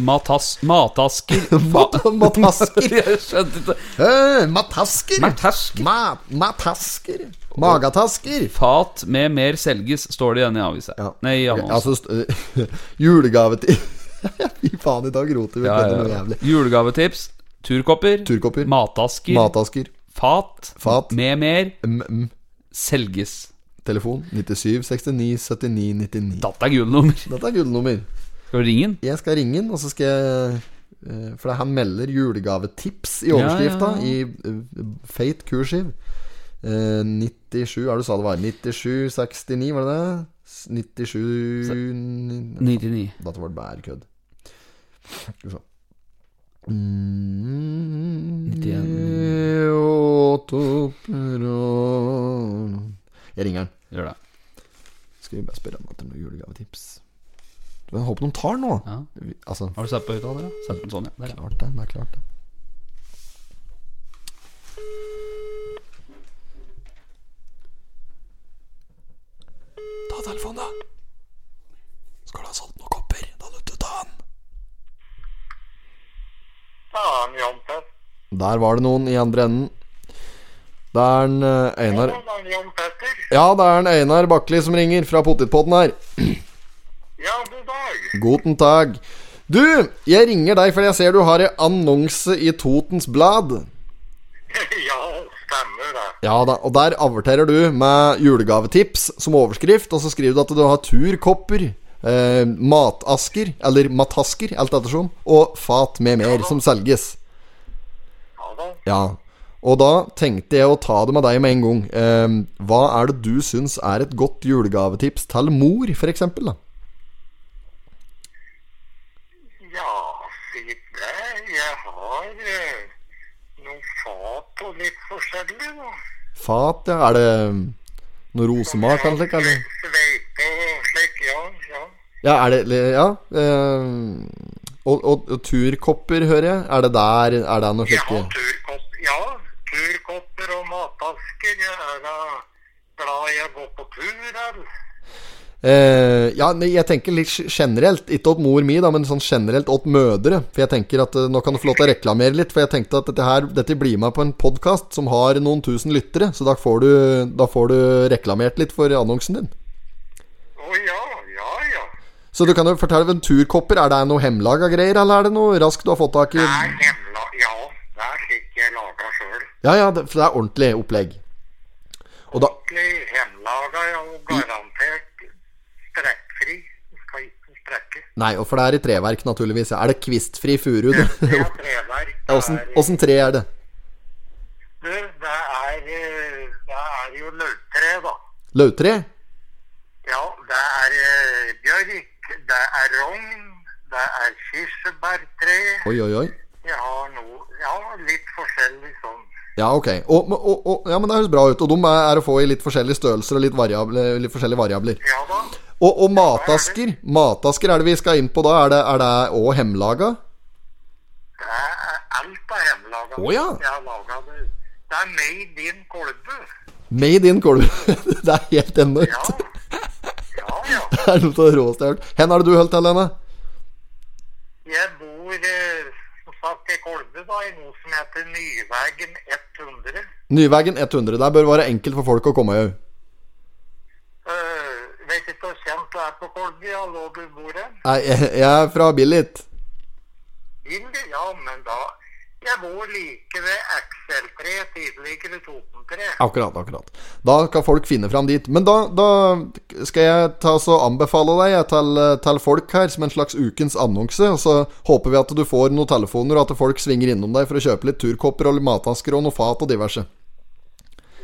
Speaker 1: matas, <laughs> matasker
Speaker 6: Mat-
Speaker 1: <laughs>
Speaker 6: Matasker.
Speaker 1: Jeg skjønte ikke
Speaker 6: Hei, matasker.
Speaker 1: Matasker.
Speaker 6: Ma matasker. Magatasker.
Speaker 1: Fat med mer selges, står det igjen i avisa.
Speaker 6: Ja.
Speaker 1: Nei, i
Speaker 6: Ok,
Speaker 1: annonsen.
Speaker 6: altså st- <laughs> julegave til <laughs> Fy faen, i dag roter vi
Speaker 1: Ja,
Speaker 6: dette
Speaker 1: ja,
Speaker 6: noe
Speaker 1: ja.
Speaker 6: jævlig.
Speaker 1: Julegavetips, turkopper,
Speaker 6: Turkopper.
Speaker 1: matasker,
Speaker 6: Matasker.
Speaker 1: fat,
Speaker 6: Fat.
Speaker 1: med mer
Speaker 6: Mm, mm.
Speaker 1: selges.
Speaker 6: Telefon 97 69 79 99.
Speaker 1: Dette er gullnummer.
Speaker 6: Dette er gullnummer.
Speaker 1: Skal du ringe den?
Speaker 6: Jeg skal ringe den, og så skal jeg eh, For han melder julegavetips i
Speaker 1: Ja,
Speaker 6: overskrifta
Speaker 1: ja,
Speaker 6: i eh, feit kursiv. Eh, 97 Hva er det du sa det var? 97 69, var det det? S- 97 ni-
Speaker 1: 99.
Speaker 6: Dette var bare kødd. Skal vi se. Mm,
Speaker 1: 91.
Speaker 6: Jeg ringer den.
Speaker 1: Gjør det.
Speaker 6: Skal vi bare spørre om etter noen julegavetips. Men jeg håper de tar nå.
Speaker 1: Ja.
Speaker 6: Vi- Altså,
Speaker 1: Har du satt på høyttaler? da? Sett den sånn, ja. Der, ja.
Speaker 6: klart det. Det er klart det. Ta telefonen, da. Skal du ha solgt noen kopper? Da er du nødt til å ta den.
Speaker 9: Faen, Jompe.
Speaker 6: Der var det noen i andre enden. Det er en eh, Einar
Speaker 9: Faen, Jon Petter.
Speaker 6: Ja, det er en Einar Bakkeli som ringer fra potetpotten her.
Speaker 9: Ja, god dag. <laughs>
Speaker 6: Guten tag. Du, jeg ringer deg fordi jeg ser du har en annonse i Totens Blad.
Speaker 9: ja, stemmer det.
Speaker 6: Ja da, og der averterer du med julegavetips som overskrift, og så skriver du at du har turkopper, eh, matasker, eller matasker, alt ettersom, og fat med mer som selges.
Speaker 9: Ja da.
Speaker 6: Ja. Og da tenkte jeg å ta det med deg med en gang. Eh, hva er det du syns er et godt julegavetips til mor, f.eks.?
Speaker 9: Ja, si det. Jeg har eh, noen fat og litt forskjellig, da.
Speaker 6: Fat, ja. Er det noe rosemak eller slik, eller?
Speaker 9: Sveipe og slik, ja. ja.
Speaker 6: Ja, er det Ja. eh, og, og, og turkopper, hører jeg. Er det der Er det noe
Speaker 9: Jeg har
Speaker 6: slikt?
Speaker 9: turkopp, ja, turkopper og matasker. Jeg er da glad jeg går på tur, eller?
Speaker 6: Eh, ja, nei, jeg tenker litt generelt. Ikke åt mor mi, da, men sånn generelt åt mødre. For jeg tenker at eh, Nå kan du få lov til å reklamere litt, for jeg tenkte at dette her Dette blir med på en podkast som har noen tusen lyttere, så da får du, da får du reklamert litt for annonsen din.
Speaker 9: Å ja, ja, ja.
Speaker 6: Så du kan jo fortelle om turkopper. Er det noe hemmelaga greier, eller er det noe raskt du har fått tak i?
Speaker 9: Det er hemla... Ja, det er slik jeg lager sjøl.
Speaker 6: Ja, ja, det, for det er ordentlig opplegg. Og da
Speaker 9: ordentlig hjemmelaga ja, og
Speaker 6: Mm.
Speaker 9: garantert sprekkfri. Du skal ikke
Speaker 6: <laughs>
Speaker 9: sprekke.
Speaker 6: Nei, og for det er i treverk, naturligvis. Er det kvistfri furu? <laughs> du?
Speaker 9: Det er treverk.
Speaker 6: Ja, Åssen åssen tre er det?
Speaker 9: Det er, du, det er, eh, det er jo løvtre, da.
Speaker 6: Løvtre?
Speaker 9: Ja, det er eh, bjørk, det er rogn, det er kirsebærtre.
Speaker 6: Oi, oi, oi.
Speaker 9: Jeg har noe Ja, litt forskjellig sånn.
Speaker 6: Ja, ok. Og, og, og, ja, men Det høres bra ut. Og de er, er å få i litt forskjellige størrelser og litt, variable, litt forskjellige variabler.
Speaker 9: Ja da.
Speaker 6: Og, og matasker. Matasker er det vi skal inn på da. Er det, er det også hjemmelaga?
Speaker 9: Det er alt er hjemmelaga.
Speaker 6: Å, ja.
Speaker 9: Jeg har laget det. Det er made in Kolbu.
Speaker 6: Made in Kolbu. <laughs> det er helt <laughs> enormt.
Speaker 9: Ja, ja.
Speaker 6: Det er noe av det råeste jeg har hørt. Hvor har du holdt til, Lene?
Speaker 9: Jeg bor eh, som sagt i Kolbu, da, i noe som heter Nyvegen 100.
Speaker 6: Nyvegen 100. Der bør være enkelt for folk å komme òg.
Speaker 9: Eh, vet ikke hvor kjent du er på Kolbu, ja, lå du bor hen?
Speaker 6: Nei, Jeg jeg er fra Billit.
Speaker 9: Bilde, ja, men da Jeg bor like ved XL3, tidligere Totentre.
Speaker 6: Akkurat, akkurat. Da kan folk finne fram dit. Men da, da skal jeg ta og så anbefale deg jeg, til, til folk her som en slags ukens annonse. Og så håper vi at du får noen telefoner, og at folk svinger innom deg for å kjøpe litt turkopper og litt matasker og noe fat og diverse.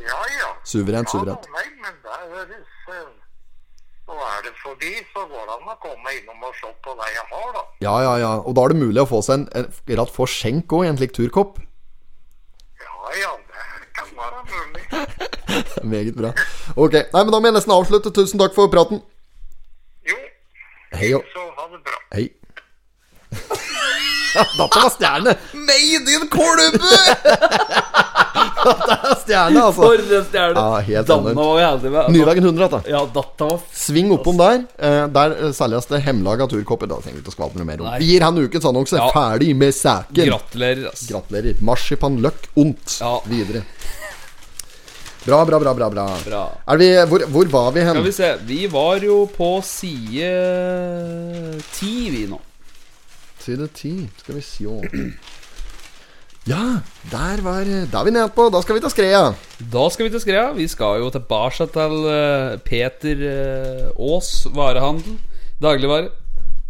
Speaker 9: Ja, ja.
Speaker 6: Suverent,
Speaker 9: Ja, da,
Speaker 6: suverent.
Speaker 9: nei, men det høres eh, Og er det forbi, så går det an å komme innom og se på hva jeg har, da.
Speaker 6: Ja, ja, ja. Og da er det mulig å få seg en, en rett for skjenk òg, en slik turkopp. <laughs>
Speaker 9: Ja, ja, det kan være mulig.
Speaker 6: Det er Meget bra. Ok. Nei, men da må jeg nesten avslutte. Tusen takk for praten.
Speaker 9: Jo,
Speaker 6: Hei og
Speaker 9: så ha det bra.
Speaker 6: hei. <laughs> Dette var stjerne.
Speaker 4: Made in
Speaker 6: <laughs>
Speaker 4: Kolbu!
Speaker 6: Stjerne, altså.
Speaker 4: For en stjerne.
Speaker 6: Ja, helt
Speaker 4: Danna
Speaker 6: enormt.
Speaker 4: var jævlig med.
Speaker 6: Nyvegen 100, dette.
Speaker 4: Ja, datta var f...
Speaker 6: Sving oppom der. Eh, der eh, selges det hemmelaga turkopper. Da trenger vi ikke å skvalte noe mer om.
Speaker 4: Nei.
Speaker 6: Vi gir han ukens annonse.
Speaker 4: Ja.
Speaker 6: Ferdig med saken.
Speaker 4: Gratulerer, ass.
Speaker 6: Gratulerer. Marsipan løk ondt.
Speaker 4: Ja.
Speaker 6: Videre. Bra, bra, bra, bra. bra.
Speaker 4: Bra.
Speaker 6: Er vi, hvor, hvor var vi hen?
Speaker 4: Skal vi se. Vi var jo på side ti, vi nå.
Speaker 6: Side ti. Skal vi sjå. Ja, der var Der er vi nede på. Da skal vi ta skreia.
Speaker 4: Da skal vi til skreia. Vi skal jo tilbake til eh, Peter eh, Aas varehandel. Dagligvare.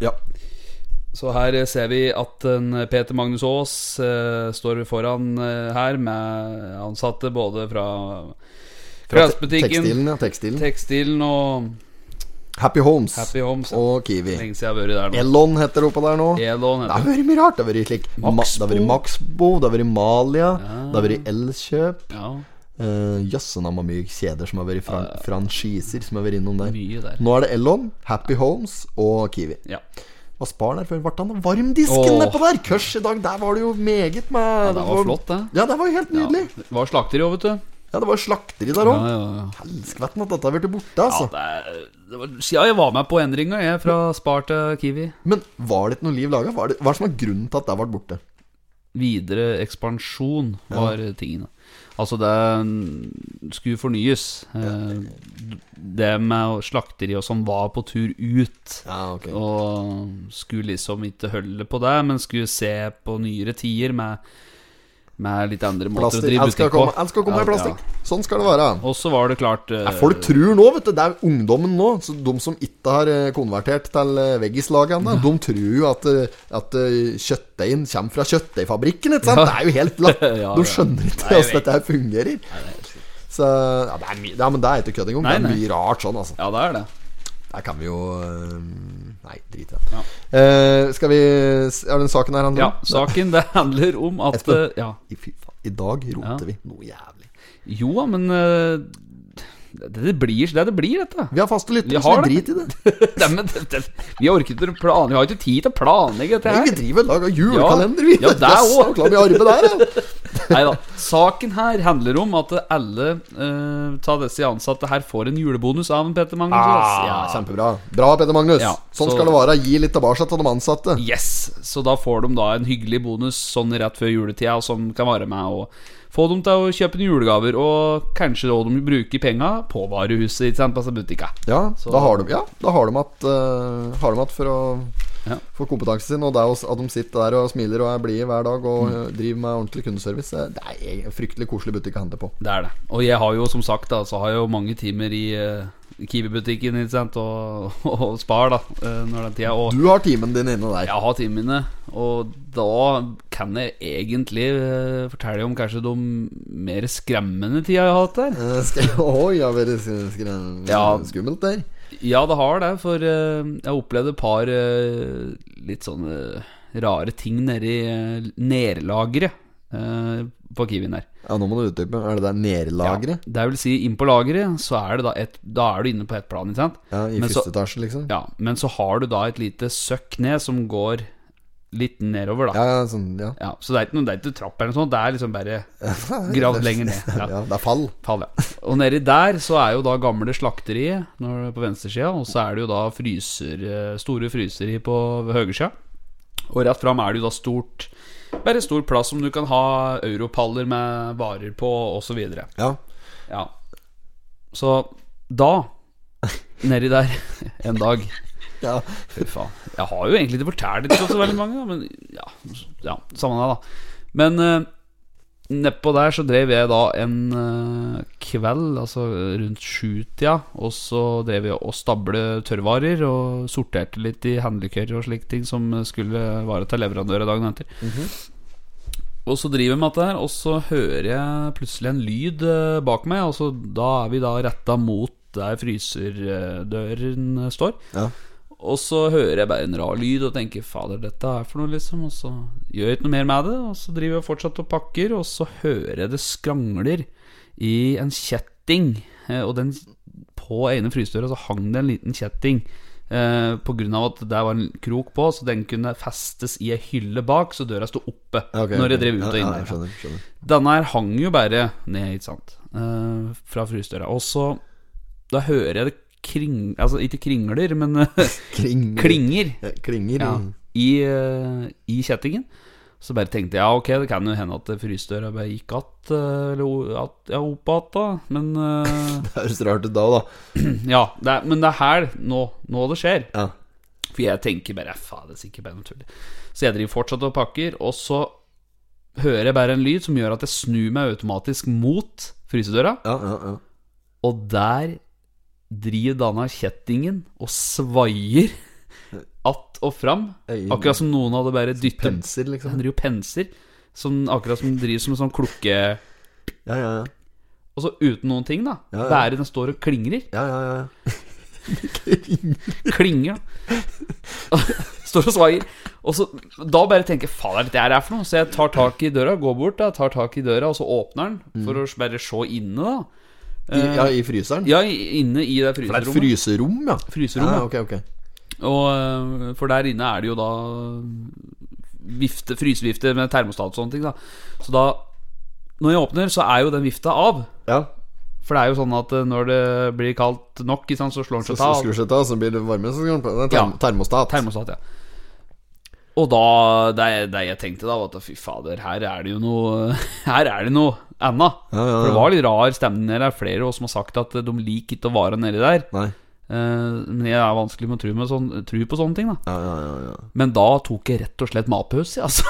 Speaker 6: Ja.
Speaker 4: Så her eh, ser vi at en Peter Magnus Aas eh, står foran eh, her med ansatte både fra klesbutikken,
Speaker 6: Tekstilen, ja. Tekstilen.
Speaker 4: tekstilen og
Speaker 6: Happy Homes.
Speaker 4: Happy Homes.
Speaker 6: Og Kiwi.
Speaker 4: Lenge siden jeg har vært der nå.
Speaker 6: Elon heter det oppå der nå.
Speaker 4: Elon
Speaker 6: Det har
Speaker 4: heter det.
Speaker 6: vært mye rart. Det har vært slik Ma- Det har vært Maxbo, det har vært Malia,
Speaker 4: Ah.
Speaker 6: det har vært Elkjøp.
Speaker 4: Ja,
Speaker 6: Eh, Jøssen har mye kjeder som har vært fran franchiser som har vært innom der.
Speaker 4: Ah. mye der.
Speaker 6: Nå er det Elon, Happy Homes og Kiwi.
Speaker 4: Ja.
Speaker 6: Hva spar der før? Ble han av varmdisken
Speaker 4: Åh.
Speaker 6: nedpå der? Kørs i dag, der var det jo meget med
Speaker 4: det var flott, det.
Speaker 6: Ja, det var jo helt nydelig.
Speaker 4: Det var slakteri òg, vet du.
Speaker 6: Ja, det var slakteri der òg.
Speaker 4: Ja, ja, ja.
Speaker 6: Helskvetten at dette har blitt borte, altså.
Speaker 4: Det, er- det var siden jeg var med på endringa, jeg, fra Spar til Kiwi.
Speaker 6: Men var det ikke noe liv laga? Hva er det- hva er det som er grunnen til at det ble borte?
Speaker 4: videre ekspansjon var tingene. Altså det mm, skulle fornyes. Eh, Det med slakteri og sånn var på tur ut.
Speaker 6: Ja, ok
Speaker 4: Og skulle liksom ikke holde på det, men skulle se på nyere tider med, med litt andre måter å
Speaker 6: Plastikk.
Speaker 4: drive
Speaker 6: Jeg skal
Speaker 4: butikk
Speaker 6: komme,
Speaker 4: på.
Speaker 6: jeg skal komme med
Speaker 4: Ja,
Speaker 6: plastikk. Sånn skal det være.
Speaker 4: ja. Og så var det klart eh,
Speaker 6: Nei, Folk tror nå, vet du. Det er ungdommen nå. Så de som ikke har eh, konvertert til eh, veggislaget ennå, de tror jo at, eh, at eh, kjøttdeigen kommer fra kjøttdeigfabrikken. Ikke sant? Det er jo helt latt.
Speaker 4: <laughs> Ja,
Speaker 6: De
Speaker 4: ja.
Speaker 6: skjønner ikke hvordan dette her fungerer. Så ja, det er mye Ja, men det er ikke kødd engang. Det
Speaker 4: Nei,
Speaker 6: er
Speaker 4: nei.
Speaker 6: mye rart sånn, altså.
Speaker 4: Ja, det er det.
Speaker 6: Der kan vi jo eh, Nei, drit i det. Eh, skal vi Er den saken her handler
Speaker 4: Ja,
Speaker 6: om?
Speaker 4: saken det handler om at
Speaker 6: Espen.
Speaker 4: eh, ja.
Speaker 6: I, fy faen, I dag roter
Speaker 4: Ja.
Speaker 6: vi noe jævlig.
Speaker 4: Jo da, men eh, det, det blir det det blir, dette.
Speaker 6: Vi har faste
Speaker 4: Vi
Speaker 6: lyttere, så
Speaker 4: har
Speaker 6: vi
Speaker 4: det.
Speaker 6: driter i det.
Speaker 4: Nei, men det, det, vi orker ikke å plan- Vi har ikke tid til å planlegge dette
Speaker 6: Nei, vi
Speaker 4: her.
Speaker 6: driver og lager julekalender, vi.
Speaker 4: Ja, det også.
Speaker 6: Klar mye arbeid der, ja.
Speaker 4: <laughs> Neida. Saken her handler om at alle eh, av disse ansatte her får en julebonus av en Peter Magnus. altså,
Speaker 6: Ja,
Speaker 4: Aas.
Speaker 6: kjempebra. Bra, Peder Magnus.
Speaker 4: Ja,
Speaker 6: sånn
Speaker 4: så-
Speaker 6: skal det være. Gi litt tilbake til de ansatte.
Speaker 4: ja. Yes! Så da får de da en hyggelig bonus sånn rett før juletida, som kan være med å få dem til å kjøpe noen julegaver, og kanskje da de bruker penga på varehuset, ikke sant, altså på seg butikka.
Speaker 6: Ja,
Speaker 4: Så-
Speaker 6: da har de Ja, da har de at, eh, har de at for å
Speaker 4: Ja.
Speaker 6: få kompetansen sin. Og det er også at de sitter der og smiler og er blide hver dag og eh, driver med ordentlig kundeservice. eh, Det er egen- fryktelig koselig butikk å handle på.
Speaker 4: Det er det. Og jeg har jo som sagt da, så har jeg jo mange timer i eh, Kiwi-butikken ikke sant, og, <laughs> og Spar da, eh, når den tida. Og
Speaker 6: Du har timen din inne der.
Speaker 4: Jeg har timene mine, og da kan jeg egentlig eh, fortelle om kanskje de mer skremmende tida jeg har hatt der.
Speaker 6: Eh, Skal jeg <laughs> Oi, ja, veldig sk- skre-
Speaker 4: Ja.
Speaker 6: skummelt der.
Speaker 4: Ja, det har det, for eh, jeg opplevde et par sånn, eh, litt sånne rare ting nede i eh, nærlageret. eh, på Kiwien der.
Speaker 6: Ja, nå må du utdype. Er det der nedlageret?
Speaker 4: Det vil si, inn på lageret, så er, det da, et, da er du inne på ett plan, ikke sant?
Speaker 6: Ja, I
Speaker 4: Men så-
Speaker 6: første etasje, liksom?
Speaker 4: Ja, men så har du da et lite søkk ned som går litt nedover, da.
Speaker 6: Ja,
Speaker 4: Ja.
Speaker 6: ja, sånn, ja.
Speaker 4: så det er ikke noe, det er ikke noe trapp eller noe sånt, det er liksom bare
Speaker 6: <laughs>
Speaker 4: gravd lenger ned. Ja.
Speaker 6: ja. Det er fall.
Speaker 4: Fall, ja. Og nedi der så er jo da gamle slakteriet når, på venstresida, og så er det jo da fryser, eh, store fryseri på høyresida. Og rett fram er det jo da stort Bare stor plass som du kan ha europaller med varer på, osv.
Speaker 6: Ja.
Speaker 4: Ja. Så da, nedi der, en dag
Speaker 6: ja.
Speaker 4: Fy faen. Jeg har jo egentlig ikke fortalt det til så veldig mange, da, men ja, ja samme det, da. Men eh, nedpå der så drev jeg da en eh, kveld, altså rundt sjutida, og så drev jeg og stable tørrvarer og sorterte litt i handlekøyer og slike ting som skulle vare til leverandører dagen etter. Og så driver jeg med dette her, og så hører jeg plutselig en lyd eh, bak meg, og så da er vi da retta mot der fryserdøren eh, står. Og så hører jeg bare en rar lyd og tenker 'fader, dette er for noe', liksom. Og så gjør jeg ikke noe mer med det, og så driver jeg fortsatt og pakker, og så hører jeg det skrangler i en kjetting. Eh, Og den på ene frysedøra så hang det en liten kjetting. Eh, på grunn av at der var en krok på, så den kunne festes i ei hylle bak, så døra sto oppe
Speaker 6: Ok,
Speaker 4: når jeg
Speaker 6: ok.
Speaker 4: drev ut og inn
Speaker 6: ja,
Speaker 4: der.
Speaker 6: ja, skjønner, skjønner.
Speaker 4: Denne her hang jo bare ned, ikke sant, eh, fra frysedøra. Og så Da hører jeg det kring... Altså ikke kringler, men <laughs> eh,
Speaker 6: Kring-
Speaker 4: klinger
Speaker 6: Ja, Klinger.
Speaker 4: ja,
Speaker 6: Ja.
Speaker 4: i, eh, i kjettingen. Så bare tenkte jeg ja, ok, det kan jo hende at frysedøra bare gikk att, eh, eller o- att- ja, opp att, da. Men
Speaker 6: <laughs>
Speaker 4: eh,
Speaker 6: Det høres rart ut da, da.
Speaker 4: ja, det er, men det er her, nå, nå det skjer.
Speaker 6: Ja.
Speaker 4: For jeg tenker bare faen, det er sikkert bare noe tull. Så jeg driver fortsatt og pakker, og så hører jeg bare en lyd som gjør at jeg snur meg automatisk mot frysedøra,
Speaker 6: Ja, ja, ja.
Speaker 4: og der driver denne kjettingen og svaier att og fram.
Speaker 6: Øyen-
Speaker 4: Akkurat som noen hadde bare dyttet
Speaker 6: Penser,
Speaker 4: Han
Speaker 6: liksom.
Speaker 4: driver jo penser, som, akkurat som driver som en sånn klukke
Speaker 6: Ja, ja, ja.
Speaker 4: Og så uten noen ting, da.
Speaker 6: Ja, ja.
Speaker 4: Bare den står og klingrer.
Speaker 6: ja, ja, ja.
Speaker 4: Klinger, da. <laughs> står og svaier. Og så da bare tenker jeg faen, hva er dette her er for noe? Så jeg tar tak i døra, går bort, da, tar tak i døra, og så åpner
Speaker 6: Mm.
Speaker 4: den for å bare se inne, da.
Speaker 6: I, ja, I fryseren?
Speaker 4: Eh, Ja, i- inne i det
Speaker 6: Det er et
Speaker 4: fryserommet.
Speaker 6: fryserom, ja.
Speaker 4: Fryserommet.
Speaker 6: Ja, ok, ok.
Speaker 4: Og øh, For der inne er det jo da vifte, frysevifte med termostat og sånne ting. da Så da Når jeg åpner, så er jo den vifta av.
Speaker 6: Ja,
Speaker 4: For det er jo sånn at øh, når det blir kaldt nok, ikke sant, så slår
Speaker 6: så
Speaker 4: den seg
Speaker 6: så
Speaker 4: av.
Speaker 6: skrur seg til, så blir det varme. Så skal man på- det er term
Speaker 4: Ja.
Speaker 6: termostat.
Speaker 4: Termostat, ja. Og da det, det jeg tenkte da, var at fy fader, her er det jo noe <laughs> Her er det noe anna.
Speaker 6: ja, ja.
Speaker 4: For det var litt rar stemning der. Det er flere av oss som har sagt at de liker ikke å være nedi der.
Speaker 6: Nei.
Speaker 4: Eh, Men jeg er vanskelig med å tro, med sånn, tro på sånne ting, da.
Speaker 6: Ja, ja, ja, ja.
Speaker 4: Men da tok jeg rett og slett matpause, altså.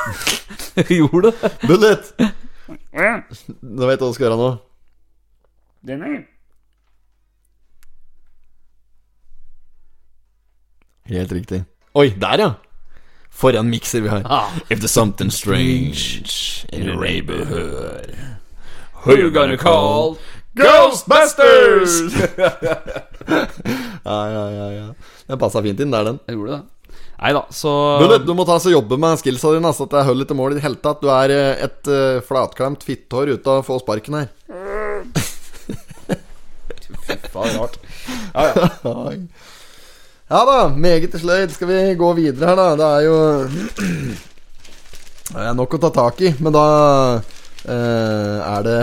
Speaker 4: <laughs> jeg gjorde det.
Speaker 6: Bullet! Nå vet du hva du skal gjøre nå. Helt riktig.
Speaker 10: Oi, der, ja. For en mikser vi har.
Speaker 4: Ah.
Speaker 10: If there's something strange in the neighborhood Who
Speaker 4: You're gonna call
Speaker 1: <laughs>
Speaker 10: Ghostbusters!
Speaker 6: Ja, ja, ja, ja. Den passa fint inn, der, den.
Speaker 4: Jeg gjorde det. Nei da, så
Speaker 6: Bullet, du må ta oss og jobbe med skillsa dine, så at jeg holder til mål i det hele tatt. Du er eh, et eh, flatklemt fittehår ute av å få sparken her. <laughs>
Speaker 4: Faen, rart.
Speaker 6: Oi. Ja da, meget sløyd. Skal vi gå videre her, da? Det er jo <clears throat> Det er nok å ta tak i, men da eh, er det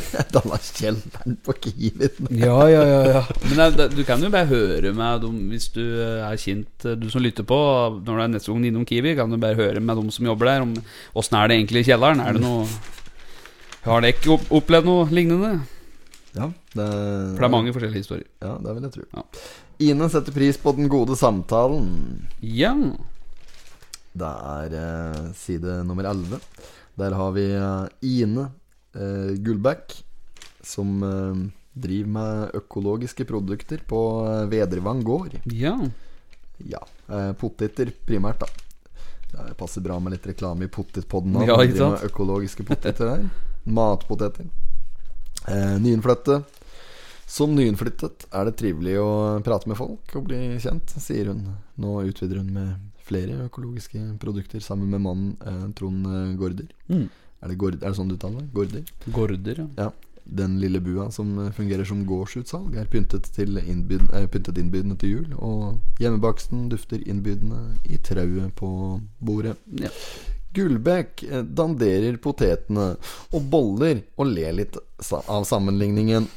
Speaker 6: <laughs> Denne kjelleren på Kiwien.
Speaker 4: Ja, ja, ja, Men det, det, du kan jo bare høre med dem hvis du eh, er kjent eh, Du som lytter på, når du er neste gang innom Kiwi, kan du bare høre med dem som jobber der, om åssen er det egentlig i kjelleren. Er det noe Har dere ikke opp- opplevd noe lignende?
Speaker 6: Ja, det,
Speaker 4: For det er mange forskjellige historier.
Speaker 6: Ja, det vil jeg tro.
Speaker 4: Ja.
Speaker 6: Ine setter pris på den gode samtalen.
Speaker 4: Ja.
Speaker 6: Det er eh, side nummer 11. Der har vi eh, Ine eh, Gullbæk, som eh, driver med økologiske produkter på eh, Vedervang gård.
Speaker 4: Ja.
Speaker 6: Ja. Eh, poteter primært, da. Det passer bra med litt reklame i potetpodden.
Speaker 4: Ja,
Speaker 6: Ja,
Speaker 4: ikke
Speaker 6: driver
Speaker 4: sant?
Speaker 6: med økologiske poteter der. Matpoteter. Eh, nyinnflytte. Som nyinnflyttet er det trivelig å prate med folk og bli kjent, sier hun. Nå
Speaker 4: Mm.
Speaker 6: utvider hun med flere økologiske produkter sammen med mannen eh, Trond eh, Gaarder. Er det, gord, er det sånn du uttaler det? Gorder?
Speaker 1: Gorder, ja.
Speaker 6: Ja. Den lille bua som eh, fungerer som gårdsutsalg, er pyntet, til innbyd, eh, pyntet innbydende til jul, og hjemmebaksten dufter innbydende i trauet på bordet.
Speaker 1: Ja.
Speaker 6: Gullbekk eh, danderer potetene og boller og ler litt sa- av sammenligningen.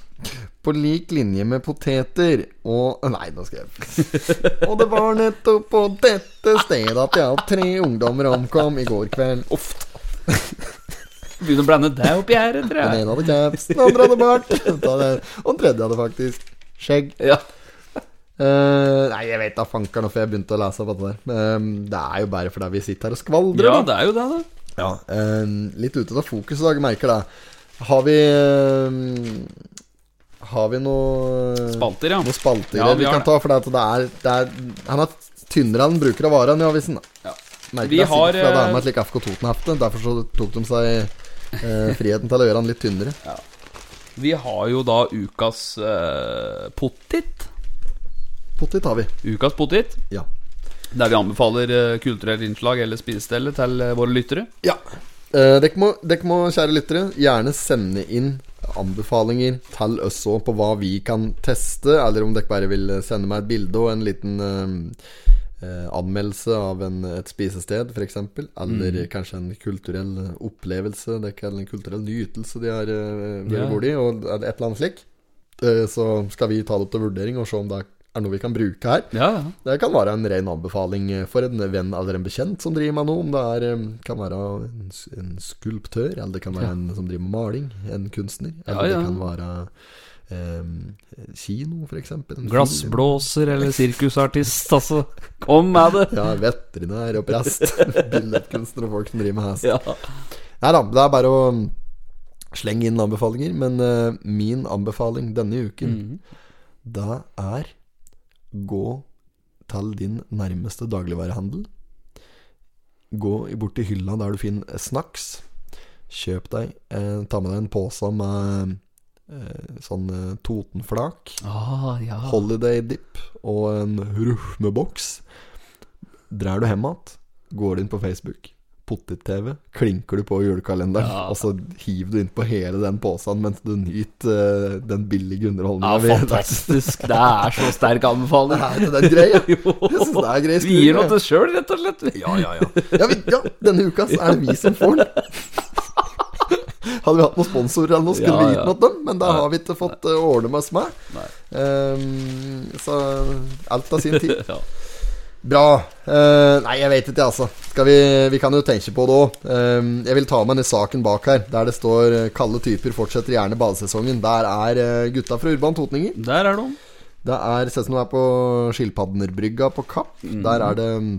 Speaker 6: På lik linje med poteter og <laughs> Nei, nå skal jeg Og det var nettopp på dette stedet at jeg og tre ungdommer omkom i går kveld.
Speaker 1: Ofte. Begynner å blande deg oppi her,
Speaker 6: Den
Speaker 1: tror jeg.
Speaker 6: ene hadde caps, den andre hadde bart, <laughs> den tredje- og den tredje hadde faktisk skjegg.
Speaker 1: Ja.
Speaker 6: Eh, nei, jeg vet da fankeren hvorfor jeg begynte å lese opp dette der. Eh, det er jo bare fordi vi sitter her og skvaldrer,
Speaker 1: ja,
Speaker 6: da.
Speaker 1: det er jo det, da.
Speaker 6: Ja, eh, litt ute av fokus i dag, merker det. Har vi eh, Har vi noe
Speaker 1: Spalter, ja.
Speaker 6: Noe spalter
Speaker 1: Ja, vi
Speaker 6: vi,
Speaker 1: har
Speaker 6: kan
Speaker 1: det.
Speaker 6: ta, for det at det er, det er Han er tynnere enn bruker av varen i avisen. Da.
Speaker 1: Ja.
Speaker 6: Merker
Speaker 1: Vi
Speaker 6: det,
Speaker 1: har,
Speaker 6: sikkert fordi det er
Speaker 1: eh,
Speaker 6: med et like FK Toten-hefte. Derfor så tok de seg eh, friheten til å gjøre han litt tynnere.
Speaker 1: Vi har jo da ukas eh, potet.
Speaker 6: Potet har vi.
Speaker 1: Ukas potet,
Speaker 6: Ja.
Speaker 1: der vi anbefaler eh, kulturelle innslag eller spisestelle til eh, våre lyttere.
Speaker 6: Ja. Eh, dere, må, dere må, kjære lyttere, gjerne sende inn anbefalinger til oss òg på hva vi kan teste, eller om dere bare vil sende meg et bilde og en liten eh, eh, anmeldelse av en, et spisested, f.eks. Eller kanskje en kulturell opplevelse, det kan- eller en kulturell nytelse de har eh, vært
Speaker 1: Ja.
Speaker 6: borti, og et eller annet slik. Eh, så skal vi ta det opp til vurdering og se om det er noe vi kan bruke her.
Speaker 1: Ja, ja.
Speaker 6: Det kan være en ren anbefaling for en venn eller en bekjent som driver med noe. Om det er, eh, kan være en, s- en skulptør, eller det kan være en som driver med maling. En kunstner. Eller
Speaker 1: Ja, ja.
Speaker 6: det kan være eh, kino, for eksempel. en film.
Speaker 1: Glassblåser eller sirkusartist, altså. Kom med
Speaker 4: <laughs>
Speaker 1: det!
Speaker 6: Ja, veterinær og prest. Billedkunstner og folk som driver med hest.
Speaker 1: Ja.
Speaker 6: Nei da, det er bare å slenge inn anbefalinger. Men eh, min anbefaling denne uken, da er gå til din nærmeste dagligvarehandel. Gå i- bort til hylla der du finner snacks. Kjøp deg eh, Ta med deg en pose med eh, sånn eh, Totenflak.
Speaker 1: Ah, ja.
Speaker 6: Holiday dip og en rufmeboks. Drar du hjem igjen, går du inn på Facebook, potet-TV, klinker du på julekalenderen,
Speaker 1: Ja.
Speaker 6: og så hiver du innpå hele den posen mens du nyter eh, den billige
Speaker 1: Ja,
Speaker 6: underholdninga. <laughs>
Speaker 1: fantastisk. Det er så sterk anbefaling.
Speaker 6: Er det den greia?
Speaker 1: <laughs> Jo.
Speaker 6: Jeg synes det er grei
Speaker 1: Vi gir
Speaker 6: skrue,
Speaker 1: noe
Speaker 6: jeg.
Speaker 1: til oss sjøl, rett og slett. Ja, ja, ja.
Speaker 6: Ja, vi, ja, denne uka så er det vi som får den. <laughs> Hadde vi hatt noen sponsorer eller noe, skulle
Speaker 1: Ja,
Speaker 6: vi gitt
Speaker 1: ja.
Speaker 6: noe til dem, men det har vi ikke fått eh, ordne oss med. Ehm, så alt av sin
Speaker 1: <laughs>
Speaker 6: tid.
Speaker 1: ja.
Speaker 6: Bra. Eh, nei, jeg vet ikke, altså. Skal vi, vi kan jo tenke på det òg. jeg vil ta med denne saken bak her, der det står eh, 'Kalde typer fortsetter gjerne badesesongen'. Der er eh, gutta fra Urban Totninger.
Speaker 1: Der er de.
Speaker 6: Det er, ser ut som det er på Skilpadnerbrygga på Kapp. Der er det mm,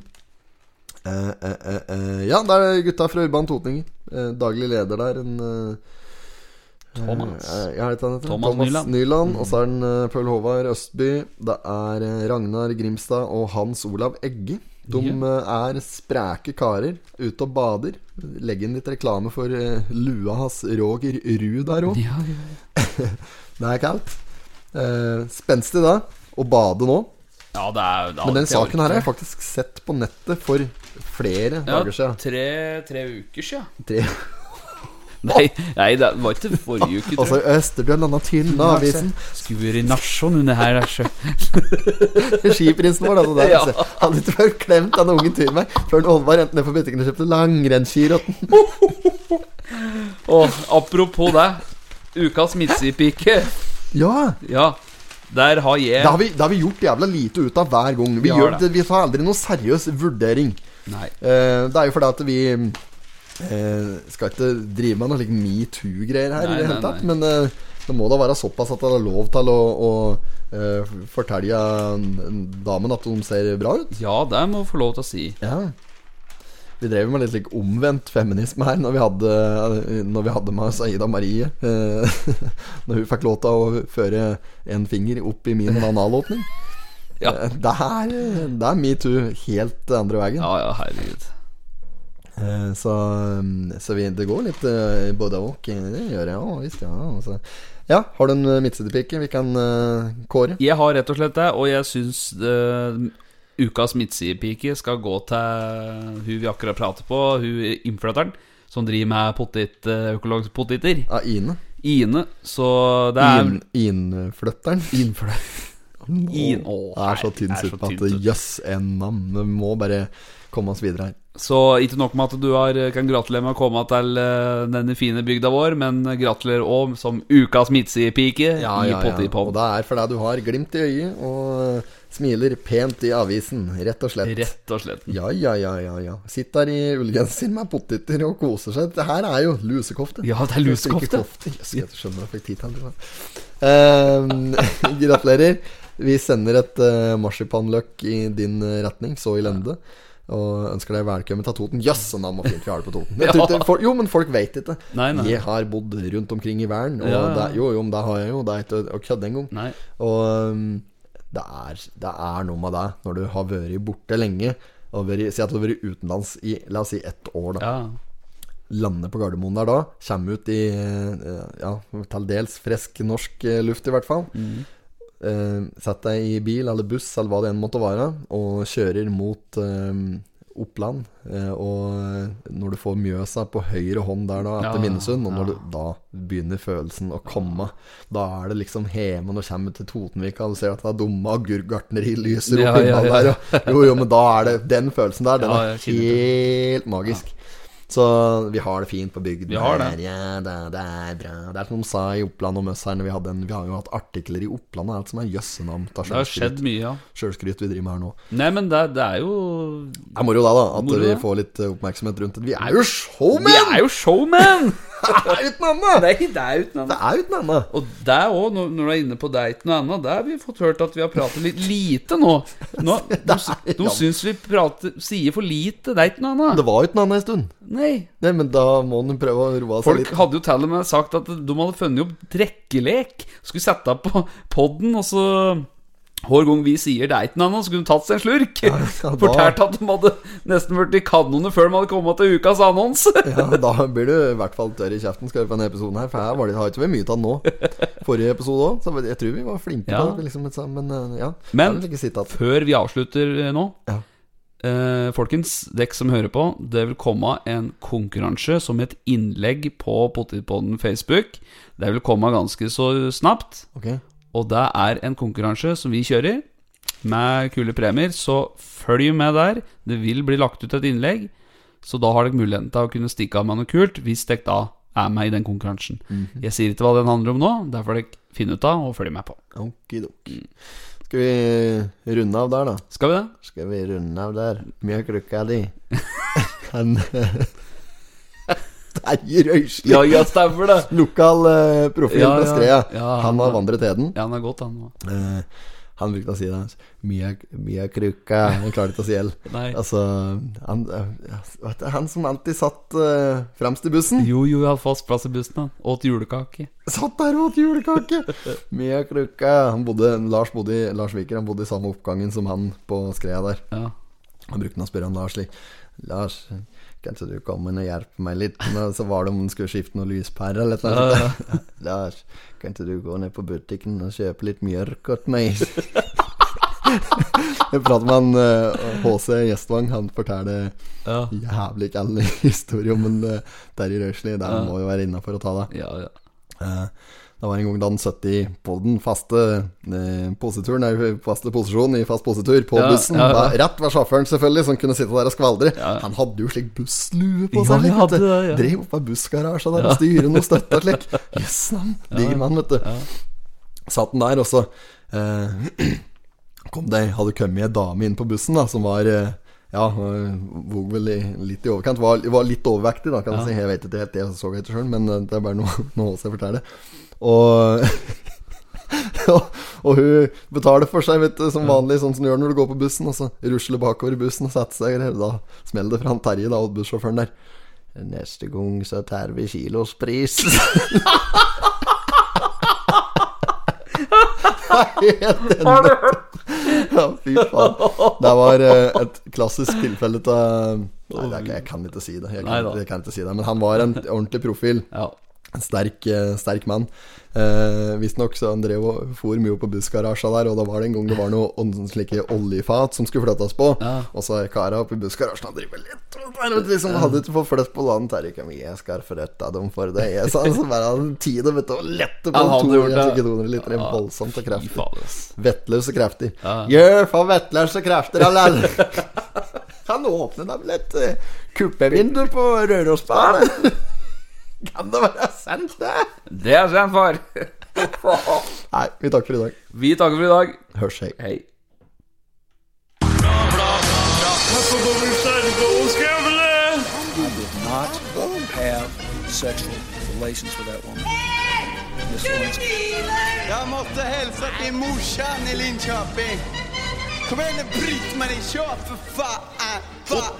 Speaker 6: eh, eh, eh, eh, Ja, der er gutta fra Urban Totninger. Eh, daglig leder der, en eh,
Speaker 1: Thomas.
Speaker 6: eh, ja, hva heter han heter?
Speaker 1: Thomas Nyland. Mm.
Speaker 6: Og så er den eh, Paul Håvard Østby. Det er eh, Ragnar Grimstad og Hans Olav Egge. De eh, er spreke karer ute og bader. Legg inn litt reklame for eh, lua hans Roger Ruud der òg.
Speaker 1: Ja, ja.
Speaker 6: Det er kaldt. Eh, Spenstig da å bade nå.
Speaker 1: ja, det er det er
Speaker 6: Men den
Speaker 1: alltid
Speaker 6: saken her har jeg
Speaker 1: orker.
Speaker 6: faktisk sett på nettet for flere dager
Speaker 1: ja,
Speaker 6: siden.
Speaker 1: tre, tre uker siden.
Speaker 6: Tre.
Speaker 1: Nei, nei, det var ikke forrige uke.
Speaker 6: Altså Østerbjørn landa tynn av avisen.
Speaker 1: Skuer i nasjon under her, er så
Speaker 6: <laughs> Skiprinsen vår, altså. Der,
Speaker 1: Ja.
Speaker 6: altså. Hadde ikke vært klemt denne ungen Tyrvei før han Olvar endte ned på butikken og kjøpte langrennsski. og-
Speaker 1: Og apropos det. Ukas midtsidepike.
Speaker 6: Ja!
Speaker 1: Ja, der har jeg
Speaker 6: Det har, vi, det har vi gjort jævla lite ut av hver gang. Vi,
Speaker 1: Vi har
Speaker 6: gjør
Speaker 1: det.
Speaker 6: det. vi tar aldri noe seriøs vurdering.
Speaker 1: Nei.
Speaker 6: Eh, det er jo fordi at vi eh, skal ikke drive med noe like metoo-greier her,
Speaker 1: Nei,
Speaker 6: i det
Speaker 1: nei,
Speaker 6: hele tatt.
Speaker 1: nei.
Speaker 6: Men eh, det må da være såpass at det er lov til å, å eh, fortelle damen at hun ser bra ut.
Speaker 1: Ja, det må jeg få lov til å si.
Speaker 6: Ja vi drev med litt slik omvendt feminisme her når vi hadde, eh, når vi hadde med oss Aida Marie. eh, <laughs> når hun fikk lov til å føre en finger opp i
Speaker 1: <laughs>
Speaker 6: min analåpning.
Speaker 1: Ja.
Speaker 6: Eh, Det er, det er metoo helt andre veien.
Speaker 1: Ja, ja, herregud.
Speaker 6: Eh, Så, så vi, det går litt eh, både og. eh, Det gjør jeg òg, visst. Ja, altså. ja, har du en eh, midtsidepike vi kan eh, kåre?
Speaker 1: Jeg har rett og slett det, og jeg syns eh, ukas midtsidepike skal gå til hun vi akkurat prater på, hun innflytteren,
Speaker 4: som driver med potet, eh, økologiske poteter.
Speaker 6: Av Ine.
Speaker 4: Ine. Så det er
Speaker 6: In, innflytteren.
Speaker 4: Innflø... In,
Speaker 6: Å, det er så tynn suppe at jøss, yes, en mann. Vi må bare komme oss videre her.
Speaker 4: Så ikke nok med at du har, kan gratulere med å komme til eh, denne fine bygda vår, men gratulerer òg som ukas midtsidepike i
Speaker 6: Og
Speaker 4: Pottipop.
Speaker 6: det er fordi du har glimt i øyet og eh, smiler pent i avisen, rett og slett.
Speaker 4: Rett og slett.
Speaker 6: Ja, ja, ja, ja, ja. Sitter i ullgenser med poteter og koser seg. Det her er jo lusekofte.
Speaker 4: Ja, det er lusekofte.
Speaker 6: Ikke kofte. Jøss, jeg skjønner at jeg fikk tid til det. Eh, <laughs> gratulerer. Vi sender et eh, marsipanløk i din eh, retning, så i lende. Og ønsker deg velkommen til Toten. Jøss, så navn var fint vi har det på
Speaker 4: <laughs>
Speaker 6: Toten. Jeg
Speaker 4: Ja.
Speaker 6: trodde- for, jo, men folk veit ikke.
Speaker 4: Nei, nei.
Speaker 6: Jeg har bodd rundt omkring i verden, og
Speaker 4: Ja, ja.
Speaker 6: det, jo, jo, men det har jeg jo. Det er ikke å kødde engang.
Speaker 4: Nei.
Speaker 6: Og um, det er, det er noe med deg når du har vært borte lenge. Og vært, si at du har vært utenlands i la oss si ett år. da
Speaker 4: Ja.
Speaker 6: Lander på Gardermoen der da. Kommer ut i eh, ja, til dels frisk norsk eh, luft, i hvert fall.
Speaker 4: Mm.
Speaker 6: Eh, Sett deg i bil eller buss eller hva det enn måtte være, og kjører mot eh, Oppland. Eh, og når du får Mjøsa på høyre hånd der da, etter
Speaker 4: Ja,
Speaker 6: Minnesund, og når
Speaker 4: ja.
Speaker 6: du, da begynner følelsen å komme. Da er det liksom hjemme når du kommer til Totenvika, og du ser at det er dumme agurkgartneri lyser opp
Speaker 4: Ja, ja,
Speaker 6: himmelen
Speaker 4: ja.
Speaker 6: der. Og, jo, jo, men da er det den følelsen der. Den
Speaker 4: Ja,
Speaker 6: er
Speaker 4: jeg kjenner
Speaker 6: helt magisk. Så vi har det fint på bygden.
Speaker 4: Vi har det.
Speaker 6: her, Ja, det, det er bra. Det er som de sa i Oppland om oss her når vi hadde en Vi har jo hatt artikler i Oppland og alt som er jøssenavn. Det
Speaker 4: Det har skjedd mye, ja.
Speaker 6: Sjølskryt vi driver med her nå.
Speaker 4: Nei, men det, det er jo
Speaker 6: Det er moro da, da at
Speaker 4: Moro,
Speaker 6: vi
Speaker 4: da.
Speaker 6: får litt eh, oppmerksomhet rundt det. Vi er jo showmen!
Speaker 4: Vi er jo <laughs> showman!
Speaker 6: Det er uten annet!
Speaker 4: Nei, det er uten
Speaker 6: Det er uten annet.
Speaker 4: Og det òg, når når du er inne på det er ikke noe annet, det har vi fått hørt at vi har pratet litt lite nå.
Speaker 6: <laughs>
Speaker 4: nå de de syns vi prater, sier for lite, det er ikke noe annet.
Speaker 6: Det var uten annet en stund.
Speaker 4: Nei.
Speaker 6: Nei, men da må den prøve å roe seg
Speaker 4: Folk
Speaker 6: litt.
Speaker 4: hadde jo til og med sagt at de hadde funnet opp drikkelek. Skulle sette opp på podden, og så hver gang vi sier det er ikke noe annet, så kunne de tatt seg en slurk.
Speaker 6: ja, da-
Speaker 4: Fortalt at de hadde nesten blitt i kanonene før de hadde kommet til ukas annonse.
Speaker 6: Ja, da blir du i hvert fall tørr i kjeften skal du på denne episoden her, for her var det, har ikke vært mye av den nå. Forrige episode òg, så jeg tror vi var flinke
Speaker 4: Ja.
Speaker 6: på det. Liksom, men eh, ja.
Speaker 4: Men-
Speaker 6: det er vel ikke sitt at
Speaker 4: Før vi avslutter eh, nå
Speaker 6: Ja.
Speaker 4: eh, Folkens, dere som hører på Det vil komme en konkurranse Som et innlegg på Potetpodden Facebook Det vil komme ganske så snabbt
Speaker 6: Ok,
Speaker 4: Og det er en konkurranse som vi kjører Med kule premier Så følg med der Det vil bli lagt ut et innlegg Så da har dere muligheten til å kunne stikke av med noe kult Hvis dere da er med i den konkurransen Jeg sier ikke hva den handler om nå Derfor dere finne ut av og følge med på
Speaker 6: okidok. Skal vi runde av der, da?
Speaker 4: Skal vi det?
Speaker 6: Skal vi runde av der? Mjøkrukka di.
Speaker 4: <laughs>
Speaker 6: Han <laughs> Terje Røisli.
Speaker 4: Ja, ja, <laughs> stemmer det
Speaker 6: Lokal eh, profil
Speaker 4: Ja,
Speaker 6: fra
Speaker 4: ja.
Speaker 6: Skreia.
Speaker 4: Ja, han
Speaker 6: han har
Speaker 4: er-
Speaker 6: vandret heden.
Speaker 4: Ja, den er godt han nå
Speaker 6: Eh, han brukte å si det. Mjøkrukka Han klarte ikke å si L.
Speaker 4: Nei.
Speaker 6: Altså Han, eh, vet du, han som alltid satt eh, fremst i bussen,
Speaker 4: Jo, jo, jeg hadde fast plass i bussen. da. Åt julekake.
Speaker 6: satt der og åt <laughs> julekake! Mjøkrukka Han bodde Lars bodde i Lars Viker Han bodde i samme oppgangen som han på skreia der.
Speaker 4: Ja.
Speaker 6: Han brukte å spørre han Lars slik Lars, kanskje du kommer og hjelper meg litt? Nå, Så var det om han skulle skifte noen lyspærer eller noe sånt. <laughs> Lars, kan ikke du gå ned på butikken og kjøpe litt mjørk åt meg? <laughs> Jeg prater med han eh, HC Gjestvang. Han forteller
Speaker 4: Ja.
Speaker 6: jævlig ikke alle historier om en uh, Terje Røisli. Det må jo være innafor å ta det.
Speaker 4: Ja, ja.
Speaker 6: Eh, Det var en gang da han satt i på den faste eh, poseturen Nei, faste posisjonen i fast posetur på
Speaker 4: Ja,
Speaker 6: bussen.
Speaker 4: ja, ja.
Speaker 6: Da- Rett ved sjåføren, selvfølgelig, som kunne sitte der og skvaldre. Han hadde jo slik busslue på
Speaker 4: Ja,
Speaker 6: seg.
Speaker 4: han
Speaker 6: vet du.
Speaker 4: hadde det, ja.
Speaker 6: Drev opp av bussgarasjen der og styrer noe støtte
Speaker 4: <laughs>
Speaker 6: og slik. Jøss, han. Diger mann, vet du. Satt han der, og så eh, <clears throat> kom det, hadde kommet ei dame inn på bussen da, som var eh, ja, eh, vog vel i- litt i overkant. Var, var litt overvektig, da, kan man si. Jeg vet ikke helt, jeg så det ikke sjøl, men eh, det er bare noe, <laughs> noe jeg forteller. Og <laughs> og, og hun betaler for seg, vet du, som vanlig, sånn som du gjør når du går på bussen. Og så rusler bakover i bussen og setter seg der. Da smeller det fra han Terje, da, og bussjåføren der. Neste gang så tar vi kilospris. <laughs> Har du hørt? Ja, fy faen. Det var eh, et klassisk tilfelle av Nei, det er ikke- jeg kan ikke si det. Jeg kan,
Speaker 4: Neida.
Speaker 6: jeg kan ikke si det Men han var en ordentlig profil.
Speaker 4: ja.
Speaker 6: En sterk, eh, sterk mann. Eh, Visstnok så han drev og for mye på bussgarasja der, og da var det en gang det var noen slike oljefat som skulle flyttes på. Og så er kara oppe i bussgarasjen og driver litt og bare liksom, Hadde ikke fått flytt på land, Terje kom Jeg skal forrette dem for det. Jeg sa så bare hadde han tid vet du, å lette på
Speaker 1: Han hadde gjort
Speaker 6: 200
Speaker 1: det.
Speaker 6: ikke 200 liter. Det er voldsomt og
Speaker 1: Fy
Speaker 6: kraftig.
Speaker 1: faen, ass.
Speaker 6: Vettløse krefter. Gjør for vettløse krefter, Hallel! <laughs> Kan åpne da vel et eh, kuppevindu på Rørosbanen? kan det være sant, det?
Speaker 1: Det er sant, far.
Speaker 6: Nei, vi takker for i dag.
Speaker 1: Vi takker for i dag.
Speaker 6: Hørs, hei.
Speaker 1: Hei.
Speaker 3: Not have sexual relations with that woman. Miss Lewinsky.
Speaker 4: Jag måste hälsa till morsan i Linköping. Kom igen nu Britt-Marie, kör för fan! Fa-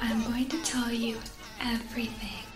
Speaker 5: I'm going to tell you everything.